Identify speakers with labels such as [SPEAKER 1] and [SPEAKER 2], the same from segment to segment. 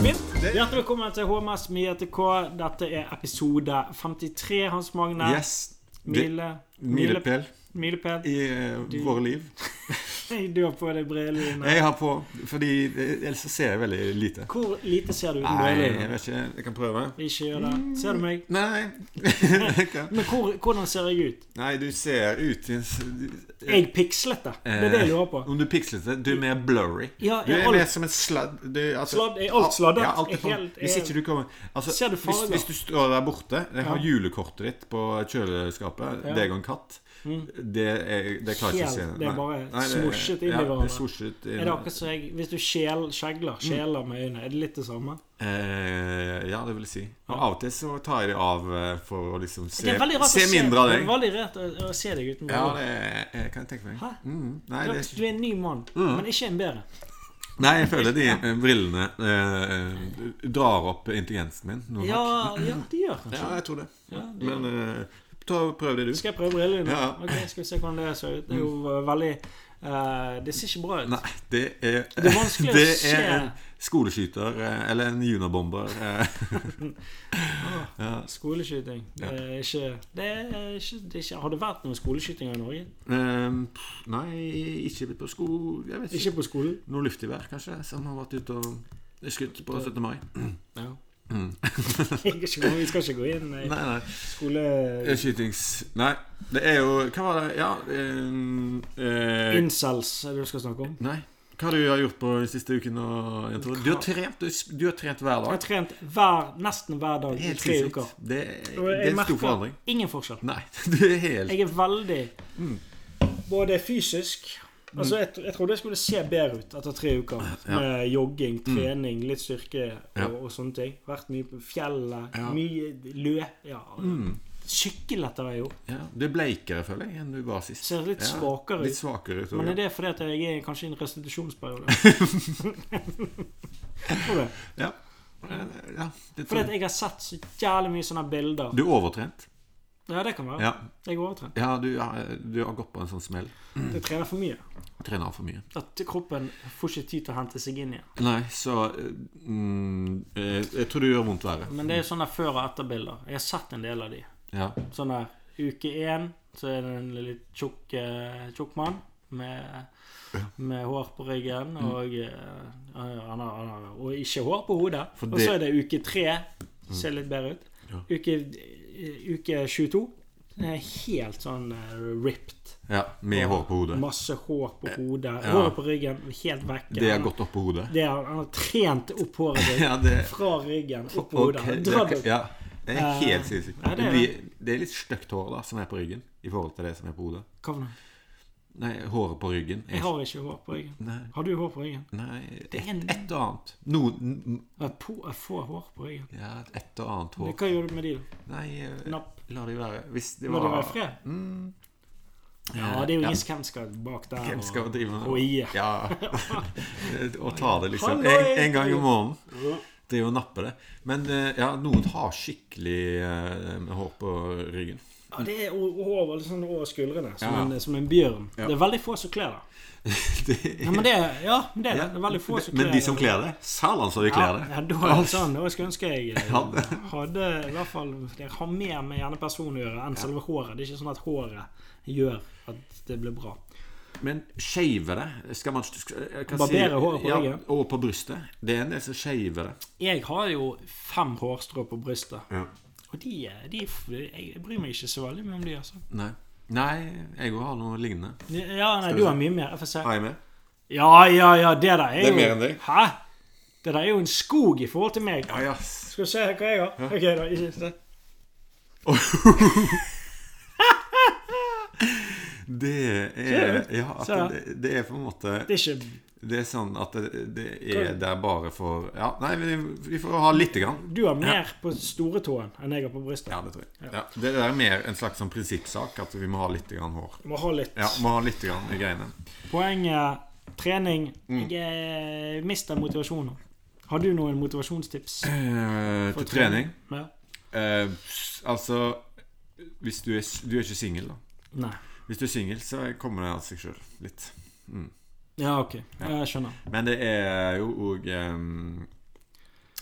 [SPEAKER 1] Hjertelig velkommen til HMS med JTK. Dette er episode 53, Hans Magne.
[SPEAKER 2] Yes. det-
[SPEAKER 1] Mile,
[SPEAKER 2] Milepæl
[SPEAKER 1] Milepæl.
[SPEAKER 2] i eh,
[SPEAKER 1] Du-
[SPEAKER 2] våre liv.
[SPEAKER 1] Du har på deg brillene.
[SPEAKER 2] Jeg har på Fordi eh, ellers så ser jeg veldig lite.
[SPEAKER 1] Hvor lite ser du uten
[SPEAKER 2] Nei, jeg
[SPEAKER 1] brillene?
[SPEAKER 2] vet ikke. Jeg kan prøve.
[SPEAKER 1] Ikke gjør det. Ser du meg?
[SPEAKER 2] Nei. Jeg kan-
[SPEAKER 1] Men hvor, hvordan ser jeg ut?
[SPEAKER 2] Nei, du ser ut i en s- du-
[SPEAKER 1] Er jeg pikslete? Det er det jeg lurer på.
[SPEAKER 2] Om du er pikslete, du er mer blurry.
[SPEAKER 1] Ja,
[SPEAKER 2] Eh. du
[SPEAKER 1] jeg
[SPEAKER 2] er
[SPEAKER 1] alt-
[SPEAKER 2] mer som en sladd. Du, altså,
[SPEAKER 1] Sladd- er alt sladdet?
[SPEAKER 2] Ja, alt
[SPEAKER 1] Er
[SPEAKER 2] er på.
[SPEAKER 1] helt-
[SPEAKER 2] Hvis
[SPEAKER 1] er-
[SPEAKER 2] ikke du kommer altså,
[SPEAKER 1] Ser du
[SPEAKER 2] hvis,
[SPEAKER 1] farger?
[SPEAKER 2] hvis du står der borte Jeg har
[SPEAKER 1] Ja.
[SPEAKER 2] julekortet ditt på kjøleskapet.
[SPEAKER 1] Ja.
[SPEAKER 2] Deg og en katt.
[SPEAKER 1] Mm.
[SPEAKER 2] Det, er, det klarer jeg ikke å se.
[SPEAKER 1] Helt- det er
[SPEAKER 2] Nei.
[SPEAKER 1] bare
[SPEAKER 2] Nei, det-
[SPEAKER 1] svosjet inn i
[SPEAKER 2] ja, det er
[SPEAKER 1] hverandre.
[SPEAKER 2] svosjet inn.
[SPEAKER 1] Er det akkurat som jeg Hvis du skjel, skjegler,
[SPEAKER 2] Mm.
[SPEAKER 1] skjeler med øynene, er det litt det samme?
[SPEAKER 2] Eh, ja, det vil jeg si.
[SPEAKER 1] Ja.
[SPEAKER 2] Og av og til så tar jeg det av eh, for å liksom
[SPEAKER 1] Det
[SPEAKER 2] se,
[SPEAKER 1] er veldig rart
[SPEAKER 2] se
[SPEAKER 1] å se
[SPEAKER 2] mindre av
[SPEAKER 1] Det
[SPEAKER 2] deg.
[SPEAKER 1] er veldig rart å, å se deg uten
[SPEAKER 2] Ja,
[SPEAKER 1] briller.
[SPEAKER 2] det eh, kan jeg tenke meg.
[SPEAKER 1] Hæ?
[SPEAKER 2] Mm. Nei, det, Mm.
[SPEAKER 1] Du er en ny mann, men ikke en bedre.
[SPEAKER 2] nei, jeg føler de eh, brillene eh, drar opp intelligensen min. noe
[SPEAKER 1] Ja, ja de gjør kanskje
[SPEAKER 2] Ja, jeg tror det.
[SPEAKER 1] Ja, de
[SPEAKER 2] Men eh, ta og prøv det, du.
[SPEAKER 1] Skal jeg prøve brillene? dine?
[SPEAKER 2] Ja. Mm.
[SPEAKER 1] Ok, skal vi se hvordan det ser ut. Det er jo eh, veldig eh, Det ser ikke bra ut.
[SPEAKER 2] Nei, det er
[SPEAKER 1] Det er vanskelig å se.
[SPEAKER 2] er en skoleskyter eh, eller en junabomber. eh.
[SPEAKER 1] Skoleskyting. Det er ikke, det er ikke, det er ikke Har det vært noen skoleskytinger i Norge?
[SPEAKER 2] Ehm, pff, Nei, ikke på sko... Jeg vet ikke.
[SPEAKER 1] Ikke på skolen?
[SPEAKER 2] Noe luftig vær, kanskje, som har vært ute og skutt på 17. mai.
[SPEAKER 1] Ja.
[SPEAKER 2] Mm.
[SPEAKER 1] vi skal ikke gå inn i
[SPEAKER 2] Nei, nei.
[SPEAKER 1] skole...
[SPEAKER 2] Eh, Skytings... Nei, det er jo Hva var det Ja ehm, eh,
[SPEAKER 1] Incels er det du skal snakke om?
[SPEAKER 2] Nei. Hva har du har gjort på de siste ukene? og- jeg tror- Du har trent, du, du har trent hver
[SPEAKER 1] Jeg
[SPEAKER 2] dag.
[SPEAKER 1] har trent hver, nesten hver dag i
[SPEAKER 2] Helt
[SPEAKER 1] tre
[SPEAKER 2] sinnssykt.
[SPEAKER 1] uker.
[SPEAKER 2] Det, det
[SPEAKER 1] Og
[SPEAKER 2] er
[SPEAKER 1] jeg
[SPEAKER 2] en stor
[SPEAKER 1] merker
[SPEAKER 2] forandring.
[SPEAKER 1] ingen forskjell.
[SPEAKER 2] Nei, du er helt
[SPEAKER 1] Jeg er veldig
[SPEAKER 2] Mm.
[SPEAKER 1] Både fysisk Altså, jeg, tro- jeg trodde jeg skulle se bedre ut etter tre uker.
[SPEAKER 2] Ja. Mm.
[SPEAKER 1] Med jogging, trening, litt styrke og,
[SPEAKER 2] Ja.
[SPEAKER 1] og sånne ting. Vært mye på fjellet.
[SPEAKER 2] Ja. Mm.
[SPEAKER 1] Mye løp. Ja. Sykkelett har jeg gjort.
[SPEAKER 2] ja, Du er bleikere, føler jeg, enn du var sist.
[SPEAKER 1] Ser litt
[SPEAKER 2] Ja,
[SPEAKER 1] svakere ut.
[SPEAKER 2] Litt svakere ut.
[SPEAKER 1] Men
[SPEAKER 2] også,
[SPEAKER 1] er
[SPEAKER 2] ja.
[SPEAKER 1] det fordi at jeg er kanskje i en restitusjonsperiode? Tror det.
[SPEAKER 2] Ja. ja det
[SPEAKER 1] Fordi
[SPEAKER 2] tror
[SPEAKER 1] at
[SPEAKER 2] jeg.
[SPEAKER 1] jeg har sett så jævlig mye sånne bilder.
[SPEAKER 2] Du er overtrent.
[SPEAKER 1] Ja, det kan være.
[SPEAKER 2] Ja,
[SPEAKER 1] Jeg er overtrent.
[SPEAKER 2] ja du, har- du har gått på en sånn smell.
[SPEAKER 1] Jeg trener for mye.
[SPEAKER 2] Trener for mye.
[SPEAKER 1] At kroppen får ikke tid til å hente seg inn igjen.
[SPEAKER 2] Nei, så eh, mm, eh, Jeg tror du gjør vondt verre.
[SPEAKER 1] Men det er jo sånne før- og etterbilder. Jeg har sett en del av de.
[SPEAKER 2] Ja.
[SPEAKER 1] Sånn der uke én, så er det en litt tjukk, eh, tjukk mann med, med hår på ryggen
[SPEAKER 2] Mm.
[SPEAKER 1] og, eh, han har, han har, og ikke hår på hodet.
[SPEAKER 2] For
[SPEAKER 1] Og
[SPEAKER 2] det- Mm.
[SPEAKER 1] så er det uke tre, ser litt bedre ut.
[SPEAKER 2] Ja.
[SPEAKER 1] Uke, uke 22, eh, helt sånn eh, ripped.
[SPEAKER 2] ja. Med hår på hodet. Eh,
[SPEAKER 1] Masse hår på hodet.
[SPEAKER 2] Ja.
[SPEAKER 1] Håret på ryggen helt vekk.
[SPEAKER 2] Det
[SPEAKER 1] Han
[SPEAKER 2] er
[SPEAKER 1] har-
[SPEAKER 2] godt opp på hodet.
[SPEAKER 1] det er- han har trent opp håret sitt
[SPEAKER 2] Ja, det
[SPEAKER 1] fra ryggen opp på
[SPEAKER 2] ok,
[SPEAKER 1] hodet. Han har
[SPEAKER 2] det,
[SPEAKER 1] dratt opp.
[SPEAKER 2] ja, det er
[SPEAKER 1] Eh,
[SPEAKER 2] helt sinnssykt.
[SPEAKER 1] ja, det
[SPEAKER 2] Det,
[SPEAKER 1] er
[SPEAKER 2] blir- det er litt stygt hår da, som er på ryggen, i forhold til det som er på hodet.
[SPEAKER 1] Hva for noe?
[SPEAKER 2] Nei, håret på ryggen
[SPEAKER 1] Jeg
[SPEAKER 2] er
[SPEAKER 1] har ikke hår på ryggen.
[SPEAKER 2] Nei,
[SPEAKER 1] Har du hår på ryggen?
[SPEAKER 2] nei
[SPEAKER 1] Det er en-
[SPEAKER 2] et, et og annet. Noen
[SPEAKER 1] Jeg på- jeg får hår på ryggen.
[SPEAKER 2] Ja, et og annet
[SPEAKER 1] Men
[SPEAKER 2] hår.
[SPEAKER 1] Hva gjør du med de, da?
[SPEAKER 2] Nei, eh,
[SPEAKER 1] Napp?
[SPEAKER 2] la de være. Hvis det
[SPEAKER 1] Må
[SPEAKER 2] var
[SPEAKER 1] de være fred?
[SPEAKER 2] Mm.
[SPEAKER 1] Ja, det er jo ingen som skal bak der.
[SPEAKER 2] Hvem skal
[SPEAKER 1] og-
[SPEAKER 2] drive med
[SPEAKER 1] Og i.
[SPEAKER 2] Ja. og ta det liksom
[SPEAKER 1] Hallo,
[SPEAKER 2] en, en gang i
[SPEAKER 1] Erik.
[SPEAKER 2] måneden. Det er jo å nappe det. Men eh, ja, noen har skikkelig eh, med hår på ryggen.
[SPEAKER 1] Ja, det er o- hår over, sånn over skuldrene, som,
[SPEAKER 2] Ja.
[SPEAKER 1] en, som en bjørn.
[SPEAKER 2] Ja.
[SPEAKER 1] Det er veldig få som kler det.
[SPEAKER 2] Det er-
[SPEAKER 1] Ja, men det er, ja, men det, er det. det er veldig få som kler
[SPEAKER 2] Men de som kler det, særlig så de kler
[SPEAKER 1] Ja,
[SPEAKER 2] det.
[SPEAKER 1] ja, da er det sånn, da skulle jeg ønske jeg eh,
[SPEAKER 2] Ja, det-
[SPEAKER 1] hadde i hvert fall Jeg har mer med gjerne personen å gjøre enn selve håret. Det er ikke sånn at håret gjør at det blir bra.
[SPEAKER 2] Men skeive det skal man skal- jeg kan
[SPEAKER 1] Barbere håret på
[SPEAKER 2] ja,
[SPEAKER 1] ryggen.
[SPEAKER 2] Og på brystet. Det er en del som skeiver det.
[SPEAKER 1] Jeg har jo fem hårstrå på brystet.
[SPEAKER 2] Ja.
[SPEAKER 1] Og de, de Jeg bryr meg ikke så veldig mye om de, altså.
[SPEAKER 2] Nei. Nei, jeg òg har noe lignende.
[SPEAKER 1] Ja, nei,
[SPEAKER 2] vi
[SPEAKER 1] du
[SPEAKER 2] se?
[SPEAKER 1] har mye mer. Jeg får se.
[SPEAKER 2] Har jeg med?
[SPEAKER 1] Ja, ja, ja, det der er jo
[SPEAKER 2] Det er mer enn deg.
[SPEAKER 1] Hæ? Det der er jo en skog i forhold til meg.
[SPEAKER 2] Ja, ja.
[SPEAKER 1] Skal vi se hva jeg har. Ok, da. ikke se.
[SPEAKER 2] Det
[SPEAKER 1] Ser
[SPEAKER 2] er
[SPEAKER 1] du?
[SPEAKER 2] ja, at
[SPEAKER 1] Ser du?
[SPEAKER 2] det, det er på en måte
[SPEAKER 1] Det er ikke
[SPEAKER 2] Det er sånn at det, det er der bare for Ja, nei, men vi får ha lite grann.
[SPEAKER 1] Du har mer på stortåen enn jeg har på brystet.
[SPEAKER 2] Ja, det tror jeg. Ja, det der er mer en slags sånn prinsippsak, at vi må ha lite grann hår.
[SPEAKER 1] Du må ha litt.
[SPEAKER 2] Ja, må ha lite grann i greiene.
[SPEAKER 1] Poenget trening.
[SPEAKER 2] Mm.
[SPEAKER 1] Jeg eh, mister motivasjonen. Har du noen motivasjonstips?
[SPEAKER 2] Eh,
[SPEAKER 1] for
[SPEAKER 2] til trening
[SPEAKER 1] Ja.
[SPEAKER 2] Eh, s- Altså Hvis du er, s- du er ikke singel, da.
[SPEAKER 1] Nei.
[SPEAKER 2] Hvis du er singel, så kommer det av seg sjøl litt. Mm.
[SPEAKER 1] Ja, ok. Jeg skjønner.
[SPEAKER 2] Men det er jo òg eh,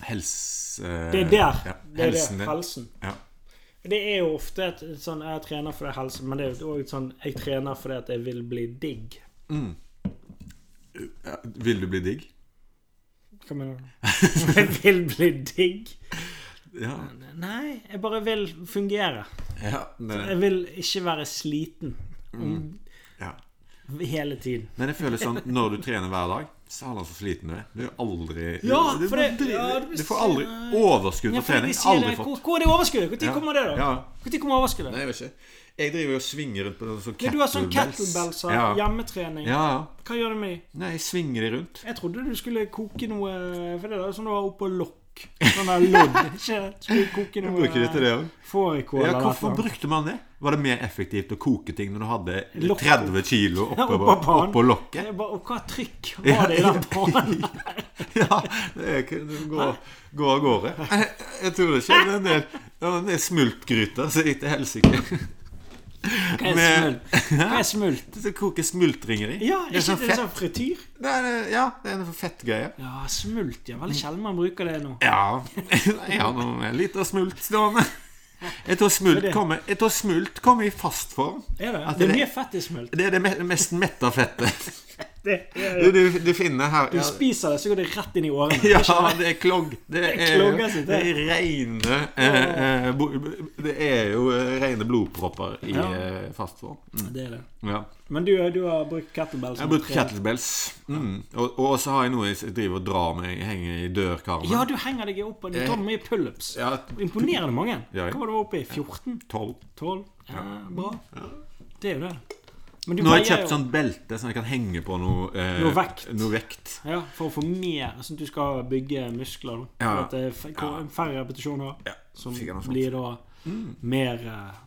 [SPEAKER 2] Helse...
[SPEAKER 1] Det er der.
[SPEAKER 2] Ja,
[SPEAKER 1] det er
[SPEAKER 2] helsen
[SPEAKER 1] det.
[SPEAKER 2] din.
[SPEAKER 1] Helsen.
[SPEAKER 2] Ja.
[SPEAKER 1] Det er jo ofte et sånn Jeg trener fordi jeg helser, men det er jo også sånn Jeg trener fordi at jeg vil bli digg.
[SPEAKER 2] Mm. Ja, Vil du bli digg?
[SPEAKER 1] Hva mener du? Jeg vil bli digg?
[SPEAKER 2] Ja.
[SPEAKER 1] Nei, jeg bare vil fungere.
[SPEAKER 2] ja, det,
[SPEAKER 1] Jeg vil ikke være sliten
[SPEAKER 2] ja.
[SPEAKER 1] hele tiden.
[SPEAKER 2] Men jeg føler sånn når du trener hver dag, så er han så sliten du er. Du er aldri
[SPEAKER 1] Ja,
[SPEAKER 2] du,
[SPEAKER 1] for det-
[SPEAKER 2] du,
[SPEAKER 1] ja,
[SPEAKER 2] du,
[SPEAKER 1] du-
[SPEAKER 2] får aldri overskudd
[SPEAKER 1] Ja,
[SPEAKER 2] på
[SPEAKER 1] fordi de
[SPEAKER 2] trening.
[SPEAKER 1] sier
[SPEAKER 2] Aldri
[SPEAKER 1] det.
[SPEAKER 2] fått.
[SPEAKER 1] Hvor, hvor er det overskuddet? Når kommer det, da?
[SPEAKER 2] Ja.
[SPEAKER 1] Når kommer overskuddet?
[SPEAKER 2] Nei, jeg vet ikke. Jeg driver jo og svinger rundt på noen sånne
[SPEAKER 1] Ja, du har sånn
[SPEAKER 2] kettlebells.
[SPEAKER 1] kettlebells her.
[SPEAKER 2] Ja.
[SPEAKER 1] Hjemmetrening.
[SPEAKER 2] ja, ja.
[SPEAKER 1] Hva gjør det med de?
[SPEAKER 2] Nei, jeg svinger de rundt.
[SPEAKER 1] Jeg trodde du skulle koke noe For det er sånn du har oppå lokk. Sånn der lodd. Ikke skulle koke noe
[SPEAKER 2] Bruker de til det òg?
[SPEAKER 1] Fårikål
[SPEAKER 2] Ja,
[SPEAKER 1] eller
[SPEAKER 2] hvorfor
[SPEAKER 1] noe.
[SPEAKER 2] brukte man det? Var det mer effektivt å koke ting når du hadde
[SPEAKER 1] Lokk.
[SPEAKER 2] 30 kilo oppå,
[SPEAKER 1] Ja, oppå banen.
[SPEAKER 2] oppå lokket?
[SPEAKER 1] Jeg bare, Og hva trykk var det i den banen?
[SPEAKER 2] ja, det er ikke- det går, går av gårde. Jeg, jeg tror det ikke. Det er en del, det er en del smultgryter som gikk til helsike.
[SPEAKER 1] Hva er
[SPEAKER 2] Men-
[SPEAKER 1] smult? Hva er smult?
[SPEAKER 2] Det koker smultringer i.
[SPEAKER 1] Ja,
[SPEAKER 2] det er
[SPEAKER 1] ikke
[SPEAKER 2] sånn
[SPEAKER 1] det er
[SPEAKER 2] fett.
[SPEAKER 1] sånn frityr?
[SPEAKER 2] Det er, ja, det er en fettgreie.
[SPEAKER 1] Ja, smult. Ja, veldig sjelden man bruker det nå.
[SPEAKER 2] Ja, jeg har nå en liten smult stående. Jeg tror smult
[SPEAKER 1] Det er det.
[SPEAKER 2] kommer, jeg tror smult kommer i fast form.
[SPEAKER 1] Er det?
[SPEAKER 2] At
[SPEAKER 1] Det
[SPEAKER 2] det-
[SPEAKER 1] er mye fett i smult.
[SPEAKER 2] Det er det me- mest metta fettet.
[SPEAKER 1] Det,
[SPEAKER 2] Du, du, du finner her
[SPEAKER 1] du
[SPEAKER 2] ja,
[SPEAKER 1] spiser det, så går det rett inn i årene.
[SPEAKER 2] Ja,
[SPEAKER 1] Ikke sånn. sant?
[SPEAKER 2] det er klogg. Det er,
[SPEAKER 1] klogger sitt,
[SPEAKER 2] det er reine eh, eh, bo- Det er jo eh, rene blodpropper i
[SPEAKER 1] Ja.
[SPEAKER 2] eh, fast form. Mm,
[SPEAKER 1] Det er det.
[SPEAKER 2] ja.
[SPEAKER 1] Men du, du har brukt kettlebell
[SPEAKER 2] Jeg har brukt kettlebells. Mm. Og, og så har jeg noe jeg driver og drar med. Jeg henger i dørkarmen.
[SPEAKER 1] Ja, du henger deg opp, og du tar mye pullups.
[SPEAKER 2] Ja,
[SPEAKER 1] Imponerende mange.
[SPEAKER 2] Eh. Ja, ja.
[SPEAKER 1] Hva var det oppe i? 14?
[SPEAKER 2] tolv.
[SPEAKER 1] 12? Ja, bra. Det er jo det. Men du
[SPEAKER 2] Nå har jeg
[SPEAKER 1] veier
[SPEAKER 2] kjøpt
[SPEAKER 1] jo-
[SPEAKER 2] sånn belte som jeg kan henge på noe, eh,
[SPEAKER 1] Noe vekt.
[SPEAKER 2] noe vekt.
[SPEAKER 1] Ja, For å få mer, sånn at du skal bygge muskler. da.
[SPEAKER 2] Ja.
[SPEAKER 1] For At det er fe- hvor- færre repetisjoner,
[SPEAKER 2] Ja,
[SPEAKER 1] som
[SPEAKER 2] sikkert noe sånt.
[SPEAKER 1] blir da
[SPEAKER 2] Mm.
[SPEAKER 1] mer eh,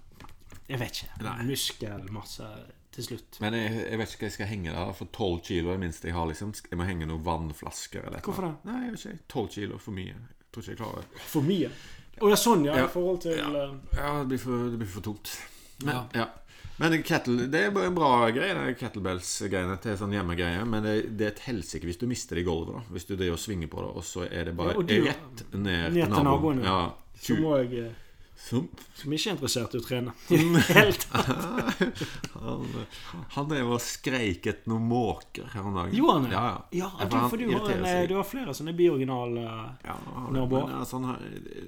[SPEAKER 1] Jeg vet ikke.
[SPEAKER 2] Nei.
[SPEAKER 1] Muskelmasse til slutt.
[SPEAKER 2] Men jeg, jeg vet ikke hva jeg skal henge der. For 12 kilo er det minste jeg har. liksom Sk- Jeg må henge noen vannflasker eller et eller
[SPEAKER 1] Hvorfor
[SPEAKER 2] annet. Nei, jeg vet ikke. 12 kilo er for mye. Jeg tror ikke jeg klarer det.
[SPEAKER 1] For mye. Og det er sånn, ja,
[SPEAKER 2] Ja.
[SPEAKER 1] i forhold til eh,
[SPEAKER 2] Ja, det blir for, det blir for tungt. Men,
[SPEAKER 1] Ja.
[SPEAKER 2] ja. men kettle, det er bare en bra greie, det er kettlebells-greiene til sånn hjemmegreie. Men det, det er et helsike hvis du mister det i gulvet. da Hvis du driver og svinger på det, og så er det bare
[SPEAKER 1] Ja, og du-
[SPEAKER 2] rett ned,
[SPEAKER 1] ned til
[SPEAKER 2] til
[SPEAKER 1] naboen,
[SPEAKER 2] naboen.
[SPEAKER 1] ja.
[SPEAKER 2] Ja.
[SPEAKER 1] Så
[SPEAKER 2] Tju-
[SPEAKER 1] må jeg eh,
[SPEAKER 2] Sump.
[SPEAKER 1] Som ikke er interessert i å trene. I det hele tatt.
[SPEAKER 2] Han, han drev og skreik etter noen måker her om dagen.
[SPEAKER 1] Gjorde han det?
[SPEAKER 2] Ja,
[SPEAKER 1] Ja,
[SPEAKER 2] Ja,
[SPEAKER 1] du,
[SPEAKER 2] han
[SPEAKER 1] for du har,
[SPEAKER 2] irriterer
[SPEAKER 1] en,
[SPEAKER 2] seg.
[SPEAKER 1] eh, du har flere sånne biooriginale
[SPEAKER 2] Ja, han-
[SPEAKER 1] Nabo.
[SPEAKER 2] men altså, han har-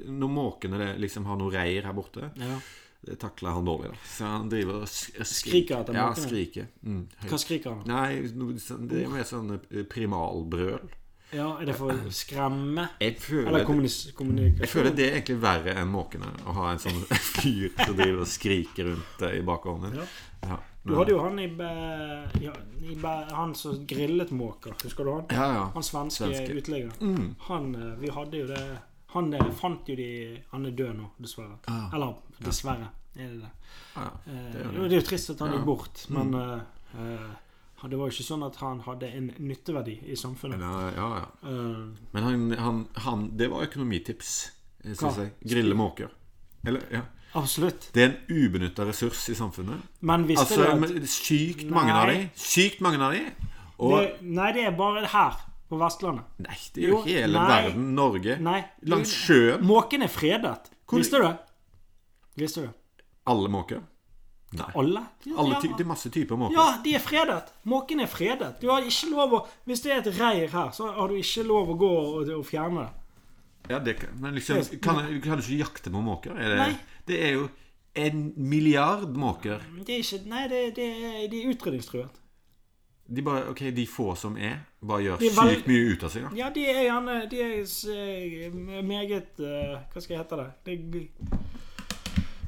[SPEAKER 2] når måkene det liksom har noe reir her borte,
[SPEAKER 1] ja.
[SPEAKER 2] det takler han dårlig. da Så han driver og sk
[SPEAKER 1] Skriker etter
[SPEAKER 2] Ja,
[SPEAKER 1] måkene?
[SPEAKER 2] skriker. Mm, høyt.
[SPEAKER 1] Hva skriker han?
[SPEAKER 2] Nei, no, sånn- det er mer sånn eh, primalbrøl.
[SPEAKER 1] Ja, Er det for å skremme?
[SPEAKER 2] Jeg føler,
[SPEAKER 1] Eller kommunis
[SPEAKER 2] jeg
[SPEAKER 1] kommunikasjon?
[SPEAKER 2] føler det er egentlig verre enn måkene. Å ha en sånn fyr som driver og skriker rundt eh, i bakhånden din.
[SPEAKER 1] Ja.
[SPEAKER 2] Ja.
[SPEAKER 1] Du hadde jo han i, Bæ... ja, i Bæ... Han som grillet måker. Husker du han?
[SPEAKER 2] ja, ja.
[SPEAKER 1] Han svenske,
[SPEAKER 2] Svenske.
[SPEAKER 1] uteliggeren.
[SPEAKER 2] Mm.
[SPEAKER 1] Han eh, Vi hadde jo det Han eh, fant jo de Han er død nå, dessverre.
[SPEAKER 2] Ah.
[SPEAKER 1] Eller dessverre, er det det.
[SPEAKER 2] ja.
[SPEAKER 1] Eh,
[SPEAKER 2] Det er jo
[SPEAKER 1] det er jo trist at han
[SPEAKER 2] Ja. Mm.
[SPEAKER 1] gikk bort, men eh, eh, det var jo ikke sånn at han hadde en nytteverdi i samfunnet.
[SPEAKER 2] Men, eh, ja, ja.
[SPEAKER 1] Eh,
[SPEAKER 2] Men han, han, han Det var økonomitips, eh,
[SPEAKER 1] Hva?
[SPEAKER 2] synes jeg. Grille måker. Eller, ja.
[SPEAKER 1] absolutt.
[SPEAKER 2] Det er en ubenytta ressurs i samfunnet.
[SPEAKER 1] Men visste
[SPEAKER 2] Altså,
[SPEAKER 1] du at
[SPEAKER 2] men Sykt mange av de.
[SPEAKER 1] Nei.
[SPEAKER 2] Sykt mange av de. Og
[SPEAKER 1] det, Nei, det er bare her, på Vestlandet.
[SPEAKER 2] Nei, det er jo
[SPEAKER 1] Jo,
[SPEAKER 2] hele
[SPEAKER 1] nei.
[SPEAKER 2] verden. Norge.
[SPEAKER 1] Nei.
[SPEAKER 2] Langs sjøen.
[SPEAKER 1] Måken er fredet.
[SPEAKER 2] Hvor-
[SPEAKER 1] Visste du det? Visste du det?
[SPEAKER 2] Alle måker. Nei.
[SPEAKER 1] Alle?
[SPEAKER 2] Alle ty det er masse typer måker.
[SPEAKER 1] Ja, de er fredet. Måken er fredet. Du har ikke lov å Hvis det er et reir her, så har du ikke lov å gå og, og fjerne det.
[SPEAKER 2] Ja, det kan, men liksom, kan, kan du ikke jakte på måker? Er det,
[SPEAKER 1] Nei.
[SPEAKER 2] det er jo en milliard måker.
[SPEAKER 1] Det er ikke Nei, det, det er, de er utrydningstruet.
[SPEAKER 2] De, bare, ok, de få som er, bare gjør
[SPEAKER 1] De er vel-
[SPEAKER 2] sykt mye ut av seg. Da.
[SPEAKER 1] Ja, de er gjerne De er s- eh, meget eh, Hva skal jeg hete det? Det er g-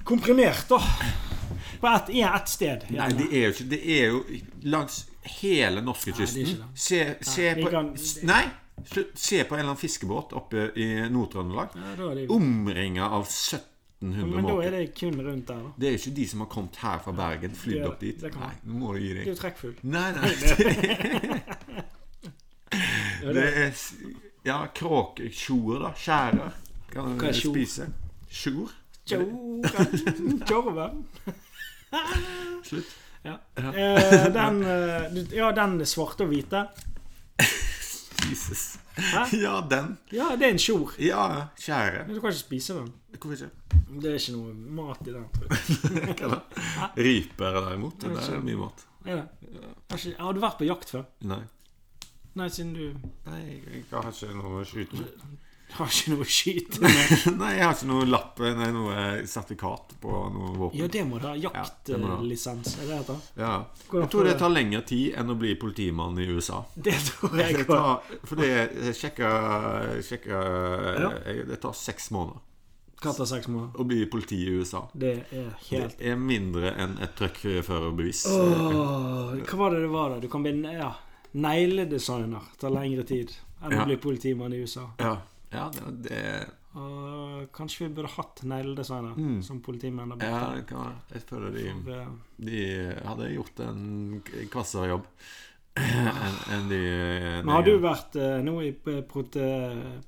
[SPEAKER 1] Komprimert, da. På ett et sted.
[SPEAKER 2] Nei,
[SPEAKER 1] gjerne.
[SPEAKER 2] det er jo ikke Det er jo langs hele
[SPEAKER 1] Nei, det er
[SPEAKER 2] norskekysten.
[SPEAKER 1] ikke det.
[SPEAKER 2] Se, se
[SPEAKER 1] Nei, vi
[SPEAKER 2] på
[SPEAKER 1] kan-
[SPEAKER 2] s- Nei! slutt. Se på en eller annen fiskebåt oppe i Nord-Trøndelag.
[SPEAKER 1] ja, da er de
[SPEAKER 2] Omringa av 1700
[SPEAKER 1] Men da er
[SPEAKER 2] måker.
[SPEAKER 1] det kun rundt der, da.
[SPEAKER 2] Det er jo ikke de som har kommet her fra Bergen,
[SPEAKER 1] Det
[SPEAKER 2] flydd
[SPEAKER 1] er
[SPEAKER 2] opp
[SPEAKER 1] det.
[SPEAKER 2] dit.
[SPEAKER 1] Det kan
[SPEAKER 2] Nei,
[SPEAKER 1] man.
[SPEAKER 2] nå må du gi
[SPEAKER 1] Det er
[SPEAKER 2] deg.
[SPEAKER 1] jo trekkfugl.
[SPEAKER 2] Nei, nei. Det er s- Ja, kråketjoer, da. Skjærer. Kan
[SPEAKER 1] Hva er
[SPEAKER 2] du
[SPEAKER 1] tjor?
[SPEAKER 2] spise? Tjor?
[SPEAKER 1] Tjoven. Tjorven.
[SPEAKER 2] Slutt.
[SPEAKER 1] eh, Ja. Eh, den, eh, du- ja, den svarte og hvite.
[SPEAKER 2] Jesus. Ja, den.
[SPEAKER 1] Ja, det er en tjor.
[SPEAKER 2] Ja, kjære.
[SPEAKER 1] Men du kan ikke spise den.
[SPEAKER 2] Hvorfor ikke?
[SPEAKER 1] Det er ikke noe mat i den, tror jeg.
[SPEAKER 2] Hva da? Ryper derimot, det er mye mat.
[SPEAKER 1] Er det? Har ikke- Har du vært på jakt før?
[SPEAKER 2] Nei.
[SPEAKER 1] Nei, siden du
[SPEAKER 2] Nei, jeg har ikke noe å skyte med.
[SPEAKER 1] har ikke noe å skyte med.
[SPEAKER 2] Nei, jeg har ikke noe lapp, nei, noe sertifikat på noe våpen.
[SPEAKER 1] Ja, det må du ha.
[SPEAKER 2] Ja, det må du ha.
[SPEAKER 1] Jaktlisens, er det det heter?
[SPEAKER 2] Ja. Jeg tror det tar lengre tid enn å bli politimann i USA.
[SPEAKER 1] Det tror jeg
[SPEAKER 2] Det
[SPEAKER 1] på.
[SPEAKER 2] tar, for det jeg sjekka jeg- eh, Det tar seks måneder
[SPEAKER 1] Katt av seks måneder.
[SPEAKER 2] å bli politi i USA.
[SPEAKER 1] Det er helt
[SPEAKER 2] Det er mindre enn et trøkkførerbevis.
[SPEAKER 1] Åh, Hva var det det var, da? Du kan bli ne- ja, negledesigner. Tar lengre tid enn
[SPEAKER 2] Ja.
[SPEAKER 1] å bli politimann i USA.
[SPEAKER 2] Ja, ja det, det
[SPEAKER 1] Og kanskje vi burde hatt negledesigner
[SPEAKER 2] Mm.
[SPEAKER 1] som politimenn der borte.
[SPEAKER 2] Ja, det kan være. Jeg føler de
[SPEAKER 1] For det-
[SPEAKER 2] De hadde gjort en kvassere jobb enn enn de
[SPEAKER 1] Men har du vært eh, nå i eh, prote,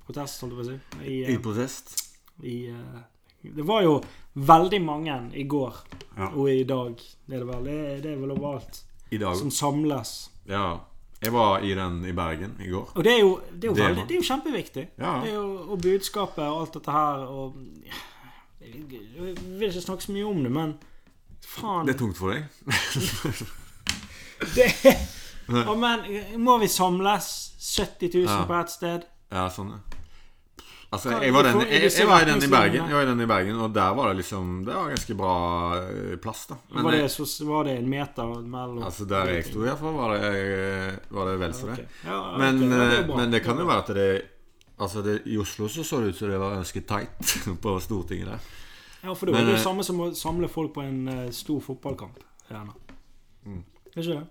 [SPEAKER 1] protest, holdt jeg på å si? I,
[SPEAKER 2] I
[SPEAKER 1] eh,
[SPEAKER 2] protest?
[SPEAKER 1] i, eh, det var jo veldig mange i går
[SPEAKER 2] Ja.
[SPEAKER 1] og i dag, det er det vel. Det, er- det er vel overalt.
[SPEAKER 2] I dag?
[SPEAKER 1] Som samles.
[SPEAKER 2] Ja. Jeg var i den i Bergen i går.
[SPEAKER 1] Og det er jo, det er jo,
[SPEAKER 2] Det er
[SPEAKER 1] veldig,
[SPEAKER 2] man.
[SPEAKER 1] det er jo kjempeviktig.
[SPEAKER 2] Ja.
[SPEAKER 1] Det er jo, og budskapet og alt dette her og Jeg vil ikke snakke så mye om det, men faen
[SPEAKER 2] Det er tungt for deg?
[SPEAKER 1] det- Å, men eh, må vi samles 70 000
[SPEAKER 2] Ja.
[SPEAKER 1] på ett sted?
[SPEAKER 2] Ja, sånn, ja. Altså,
[SPEAKER 1] Hva-
[SPEAKER 2] jeg var, den,
[SPEAKER 1] hvorfor er
[SPEAKER 2] jeg,
[SPEAKER 1] disse
[SPEAKER 2] jeg, var i den i
[SPEAKER 1] retningslinjene?
[SPEAKER 2] Bergen, jeg var i den i Bergen, og der var det liksom Det var ganske bra eh, plass, da. Men
[SPEAKER 1] var,
[SPEAKER 2] jeg-
[SPEAKER 1] det, så, var det en meter mellom
[SPEAKER 2] altså, der jeg sto, iallfall, var, det- eh, var det vel så det.
[SPEAKER 1] Ok. Ja,
[SPEAKER 2] Men,
[SPEAKER 1] ok, ja, det er
[SPEAKER 2] eh,
[SPEAKER 1] bra.
[SPEAKER 2] men det kan jo være at det Altså, det, i Oslo så så det ut som det var ganske tight på Stortinget der.
[SPEAKER 1] Ja, for det
[SPEAKER 2] men,
[SPEAKER 1] er det
[SPEAKER 2] eh,
[SPEAKER 1] jo samme som å samle folk på en eh, stor fotballkamp. Gjerne.
[SPEAKER 2] Mm.
[SPEAKER 1] Er ikke det?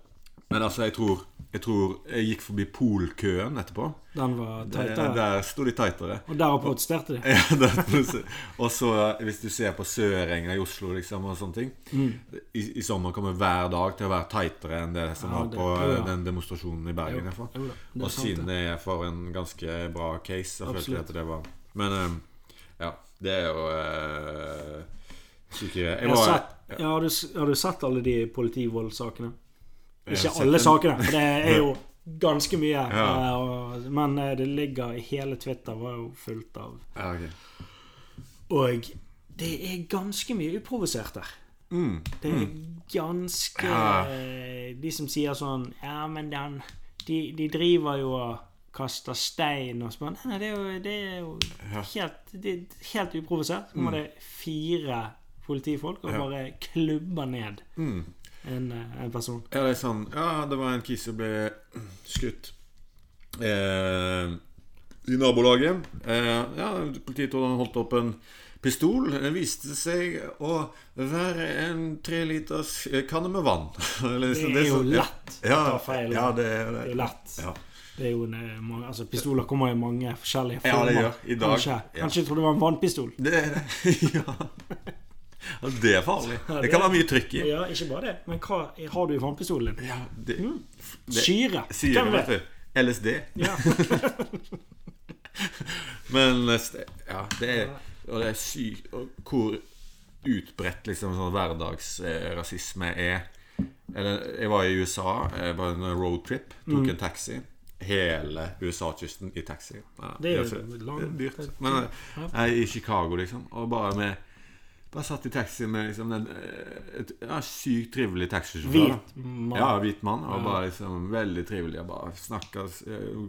[SPEAKER 2] Men altså, jeg tror Jeg, tror jeg gikk forbi polkøen etterpå.
[SPEAKER 1] Den var
[SPEAKER 2] Der,
[SPEAKER 1] teitere.
[SPEAKER 2] der sto de tightere.
[SPEAKER 1] Og der protesterte de.
[SPEAKER 2] Ja, det- og så hvis du ser på Sørenga i Oslo liksom, og sånne ting
[SPEAKER 1] Mm.
[SPEAKER 2] i, I sommer kommer hver dag til å være tightere enn det som
[SPEAKER 1] Ja,
[SPEAKER 2] var
[SPEAKER 1] det-
[SPEAKER 2] på
[SPEAKER 1] ja, ja.
[SPEAKER 2] den demonstrasjonen i Bergen. i hvert fall.
[SPEAKER 1] Jo da, det er
[SPEAKER 2] Og
[SPEAKER 1] sant, det.
[SPEAKER 2] siden eh, det er for en ganske bra case, så følte
[SPEAKER 1] Absolutt.
[SPEAKER 2] jeg at det var Men eh, ja, det er jo eh, Ikke jeg
[SPEAKER 1] Jeg har,
[SPEAKER 2] var-
[SPEAKER 1] sett, ja, har, du, s- har du sett alle de politivoldsakene?
[SPEAKER 2] jeg har
[SPEAKER 1] Ikke
[SPEAKER 2] sett
[SPEAKER 1] alle
[SPEAKER 2] en-
[SPEAKER 1] sakene, for det er jo ganske mye.
[SPEAKER 2] Ja.
[SPEAKER 1] eh, og- Men eh, det ligger Hele Twitter var jo fullt av
[SPEAKER 2] Ja, ok.
[SPEAKER 1] Og det er ganske mye uprovosert der.
[SPEAKER 2] mm.
[SPEAKER 1] Det er ganske
[SPEAKER 2] Ja.
[SPEAKER 1] eh, De som sier sånn Ja, men den De, de driver jo og kaster stein og sånn. Nei, nei, det er jo, det er jo helt, det er helt uprovosert.
[SPEAKER 2] Mm.
[SPEAKER 1] Så kommer det fire politifolk og bare klubber ned
[SPEAKER 2] Mm.
[SPEAKER 1] en, eh, en person.
[SPEAKER 2] Ja, det er sånn Ja, det var en kis som ble skutt eh, i nabolaget. Eh, ja, Politiet trodde han holdt opp en pistol. Den viste seg å være en treliters kanne med vann. Eller
[SPEAKER 1] Det
[SPEAKER 2] liksom,
[SPEAKER 1] er jo
[SPEAKER 2] sånn-
[SPEAKER 1] lett å
[SPEAKER 2] ja,
[SPEAKER 1] ta feil.
[SPEAKER 2] Ja, det er
[SPEAKER 1] Det er
[SPEAKER 2] det.
[SPEAKER 1] jo lett.
[SPEAKER 2] Ja.
[SPEAKER 1] Det er jo en, eh, mange, altså, pistoler kommer i mange forskjellige
[SPEAKER 2] Ja,
[SPEAKER 1] former.
[SPEAKER 2] det gjør. I dag.
[SPEAKER 1] Kanskje,
[SPEAKER 2] Ja.
[SPEAKER 1] kanskje jeg trodde det var en vannpistol.
[SPEAKER 2] Det er det. Ja. Ja, Det er farlig.
[SPEAKER 1] Ja,
[SPEAKER 2] Det
[SPEAKER 1] det
[SPEAKER 2] kan
[SPEAKER 1] er-
[SPEAKER 2] være mye trykk i.
[SPEAKER 1] Ja, ikke bare det, men hva har du i vannpistolen din?
[SPEAKER 2] Ja, det,
[SPEAKER 1] Mm.
[SPEAKER 2] det
[SPEAKER 1] Syre.
[SPEAKER 2] Syre,
[SPEAKER 1] Hvem vet?
[SPEAKER 2] vet du. LSD.
[SPEAKER 1] Ja.
[SPEAKER 2] Men eh, st- ja, det er, og det er sykt og hvor utbredt liksom sånn hverdagsrasisme er. Eller, jeg var i USA eh, på en roadtrip,
[SPEAKER 1] Mm.
[SPEAKER 2] tok en taxi. Hele USA-kysten i taxi. Ja,
[SPEAKER 1] Det er jo
[SPEAKER 2] så-
[SPEAKER 1] lang-
[SPEAKER 2] det er dyrt. Men eh, jeg er i Chicago, liksom, og bare med bare satt i taxi med liksom den eh, et, ja, sykt trivelig taxisjåfør. da.
[SPEAKER 1] Hvit mann.
[SPEAKER 2] Ja, hvit mann. Og bare liksom veldig trivelig. Jeg bare snakka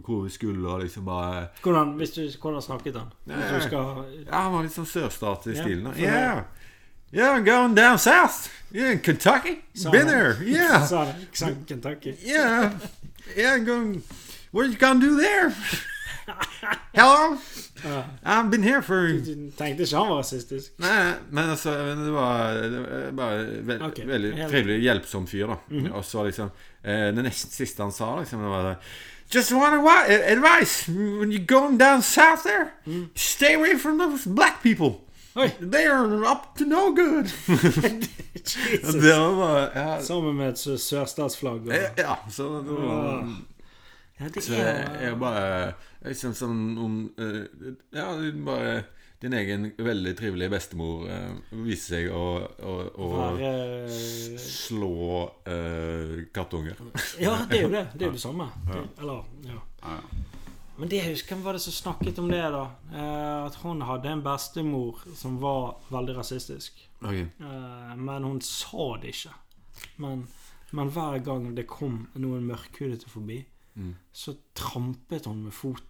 [SPEAKER 2] hvor vi skulle, og liksom bare
[SPEAKER 1] Hvordan, hvis du, hvordan snakket han? Hvis du skal
[SPEAKER 2] Ja, han var litt sånn sørstat i
[SPEAKER 1] Ja,
[SPEAKER 2] stilen. da.
[SPEAKER 1] for det-
[SPEAKER 2] Yeah. Yeah, I'm going down south. Yeah, in Kentucky.
[SPEAKER 1] Sa han.
[SPEAKER 2] Been there. Yeah.
[SPEAKER 1] Sa han Ksan- Kentucky.
[SPEAKER 2] Yeah. Yeah, I'm going What you gonna do there? Hello?
[SPEAKER 1] Ja.
[SPEAKER 2] I've been here for
[SPEAKER 1] Du tenkte ikke han var rasistisk?
[SPEAKER 2] Nei, men altså men det, var, det var bare ve
[SPEAKER 1] Ok,
[SPEAKER 2] veldig
[SPEAKER 1] helt- Mhm.
[SPEAKER 2] trivelig, hjelpsom fyr, da. Og så liksom eh, Det nest siste han sa, liksom, det var det Just one wa- eh, advice when you're going down south there, stay away from those black people.
[SPEAKER 1] Mhm. Oi.
[SPEAKER 2] They are up to no good.
[SPEAKER 1] Jesus.
[SPEAKER 2] det var bare Ja,
[SPEAKER 1] Sammen med et sø- sørstatsflagg. og-
[SPEAKER 2] eh, ja så det var
[SPEAKER 1] Ja, det
[SPEAKER 2] så jeg, jeg bare Liksom som om eh, Ja, bare din egen veldig trivelige bestemor eh, viser seg å, å, å
[SPEAKER 1] Her, eh,
[SPEAKER 2] slå eh, kattunger.
[SPEAKER 1] Ja, det er jo det. Det er jo det samme. Det, eller, ja. Men det, husker- hvem var det som snakket om det, da? Eh, at hun hadde en bestemor som var veldig rasistisk.
[SPEAKER 2] Ok.
[SPEAKER 1] Eh, men hun sa det ikke. Men, men hver gang det kom noen mørkhudete forbi, så trampet hun med foten.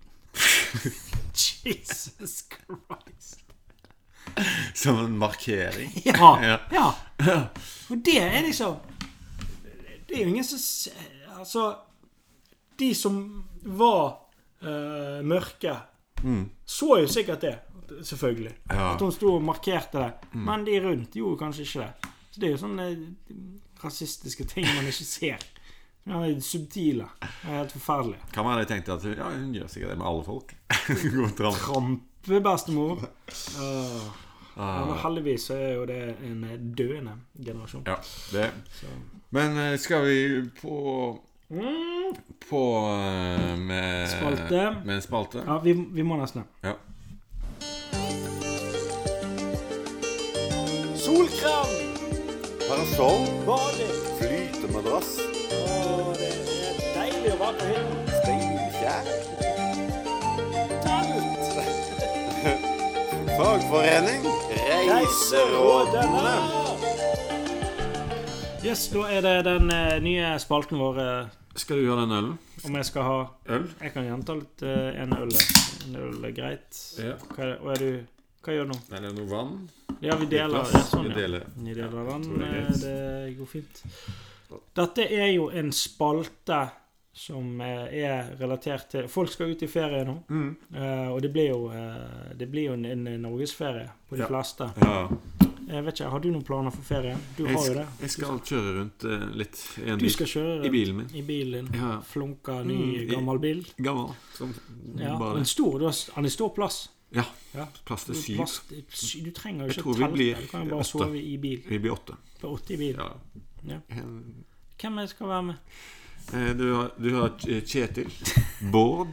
[SPEAKER 1] Jesus Christ.
[SPEAKER 2] Som en markering.
[SPEAKER 1] Ja.
[SPEAKER 2] Ja.
[SPEAKER 1] ja. Og det er liksom Det er jo ingen som s- Altså De som var eh, mørke, så jo sikkert det. Selvfølgelig.
[SPEAKER 2] Mm. Ja.
[SPEAKER 1] At hun sto og markerte det. Men de rundt gjorde kanskje ikke det. Så det er jo sånne rasistiske ting man ikke ser. Ja, det er subtile. Det er helt forferdelig.
[SPEAKER 2] Kan være de tenkte at ja, hun gjør sikkert det med alle folk. Gå og trampe.
[SPEAKER 1] Trampebestemor. Uh, men heldigvis så er jo det en døende generasjon.
[SPEAKER 2] Ja, det. Men eh, skal vi på På eh, med,
[SPEAKER 1] Mm. Spalte.
[SPEAKER 2] med en spalte?
[SPEAKER 1] Ja, vi, vi må nesten det.
[SPEAKER 2] Ja.
[SPEAKER 1] Solkrem!
[SPEAKER 3] Parasoll,
[SPEAKER 1] Bading!
[SPEAKER 3] flytemadrass,
[SPEAKER 1] Åh, det er deilig å være på hytta.
[SPEAKER 3] steinkjær. Fagforening, reiserådene.
[SPEAKER 1] Yes, da er det den eh, nye spalten vår eh,
[SPEAKER 2] Skal du ha den ølen?
[SPEAKER 1] om jeg skal ha
[SPEAKER 2] Øl?
[SPEAKER 1] Jeg kan gjenta litt eh, en øl. En øl er greit.
[SPEAKER 2] Ja.
[SPEAKER 1] Hva, er det- og er du Hva gjør du nå?
[SPEAKER 2] Er det noe vann?
[SPEAKER 1] Ja, vi deler.
[SPEAKER 2] Glass?
[SPEAKER 1] Ja, sånn,
[SPEAKER 2] Vi
[SPEAKER 1] ja.
[SPEAKER 2] deler.
[SPEAKER 1] Ni deler
[SPEAKER 2] tror
[SPEAKER 1] vann.
[SPEAKER 2] det er
[SPEAKER 1] eh,
[SPEAKER 2] greit.
[SPEAKER 1] Det går fint. Dette er jo en spalte som eh, er relatert til Folk skal ut i ferie nå.
[SPEAKER 2] Mm.
[SPEAKER 1] eh, Og det blir jo, eh, det blir jo en, en norgesferie på de
[SPEAKER 2] Ja.
[SPEAKER 1] fleste.
[SPEAKER 2] Ja.
[SPEAKER 1] Jeg vet ikke, Har du noen planer for ferie? Du
[SPEAKER 2] Jeg,
[SPEAKER 1] har jo
[SPEAKER 2] skal,
[SPEAKER 1] det.
[SPEAKER 2] jeg skal kjøre rundt eh, litt i en
[SPEAKER 1] Du
[SPEAKER 2] bil.
[SPEAKER 1] skal kjøre
[SPEAKER 2] I bilen min.
[SPEAKER 1] I bilen din.
[SPEAKER 2] Ja.
[SPEAKER 1] Flunka ny,
[SPEAKER 2] Mm, i-
[SPEAKER 1] gammel bil.
[SPEAKER 2] Gammel. Sånn
[SPEAKER 1] Ja,
[SPEAKER 2] bare.
[SPEAKER 1] men stor, du har- Han er stor plass.
[SPEAKER 2] Ja.
[SPEAKER 1] Ja.
[SPEAKER 2] Plass til syv.
[SPEAKER 1] Plast, du trenger jo
[SPEAKER 2] Jeg
[SPEAKER 1] ikke
[SPEAKER 2] tror vi
[SPEAKER 1] telt.
[SPEAKER 2] blir
[SPEAKER 1] Du kan jo bare
[SPEAKER 2] åtte.
[SPEAKER 1] sove i bil.
[SPEAKER 2] Vi blir åtte.
[SPEAKER 1] På 80 bil.
[SPEAKER 2] Ja.
[SPEAKER 1] Ja.
[SPEAKER 2] En-
[SPEAKER 1] Hvem jeg skal være med?
[SPEAKER 2] eh, Du har, du har K- Kjetil, Bård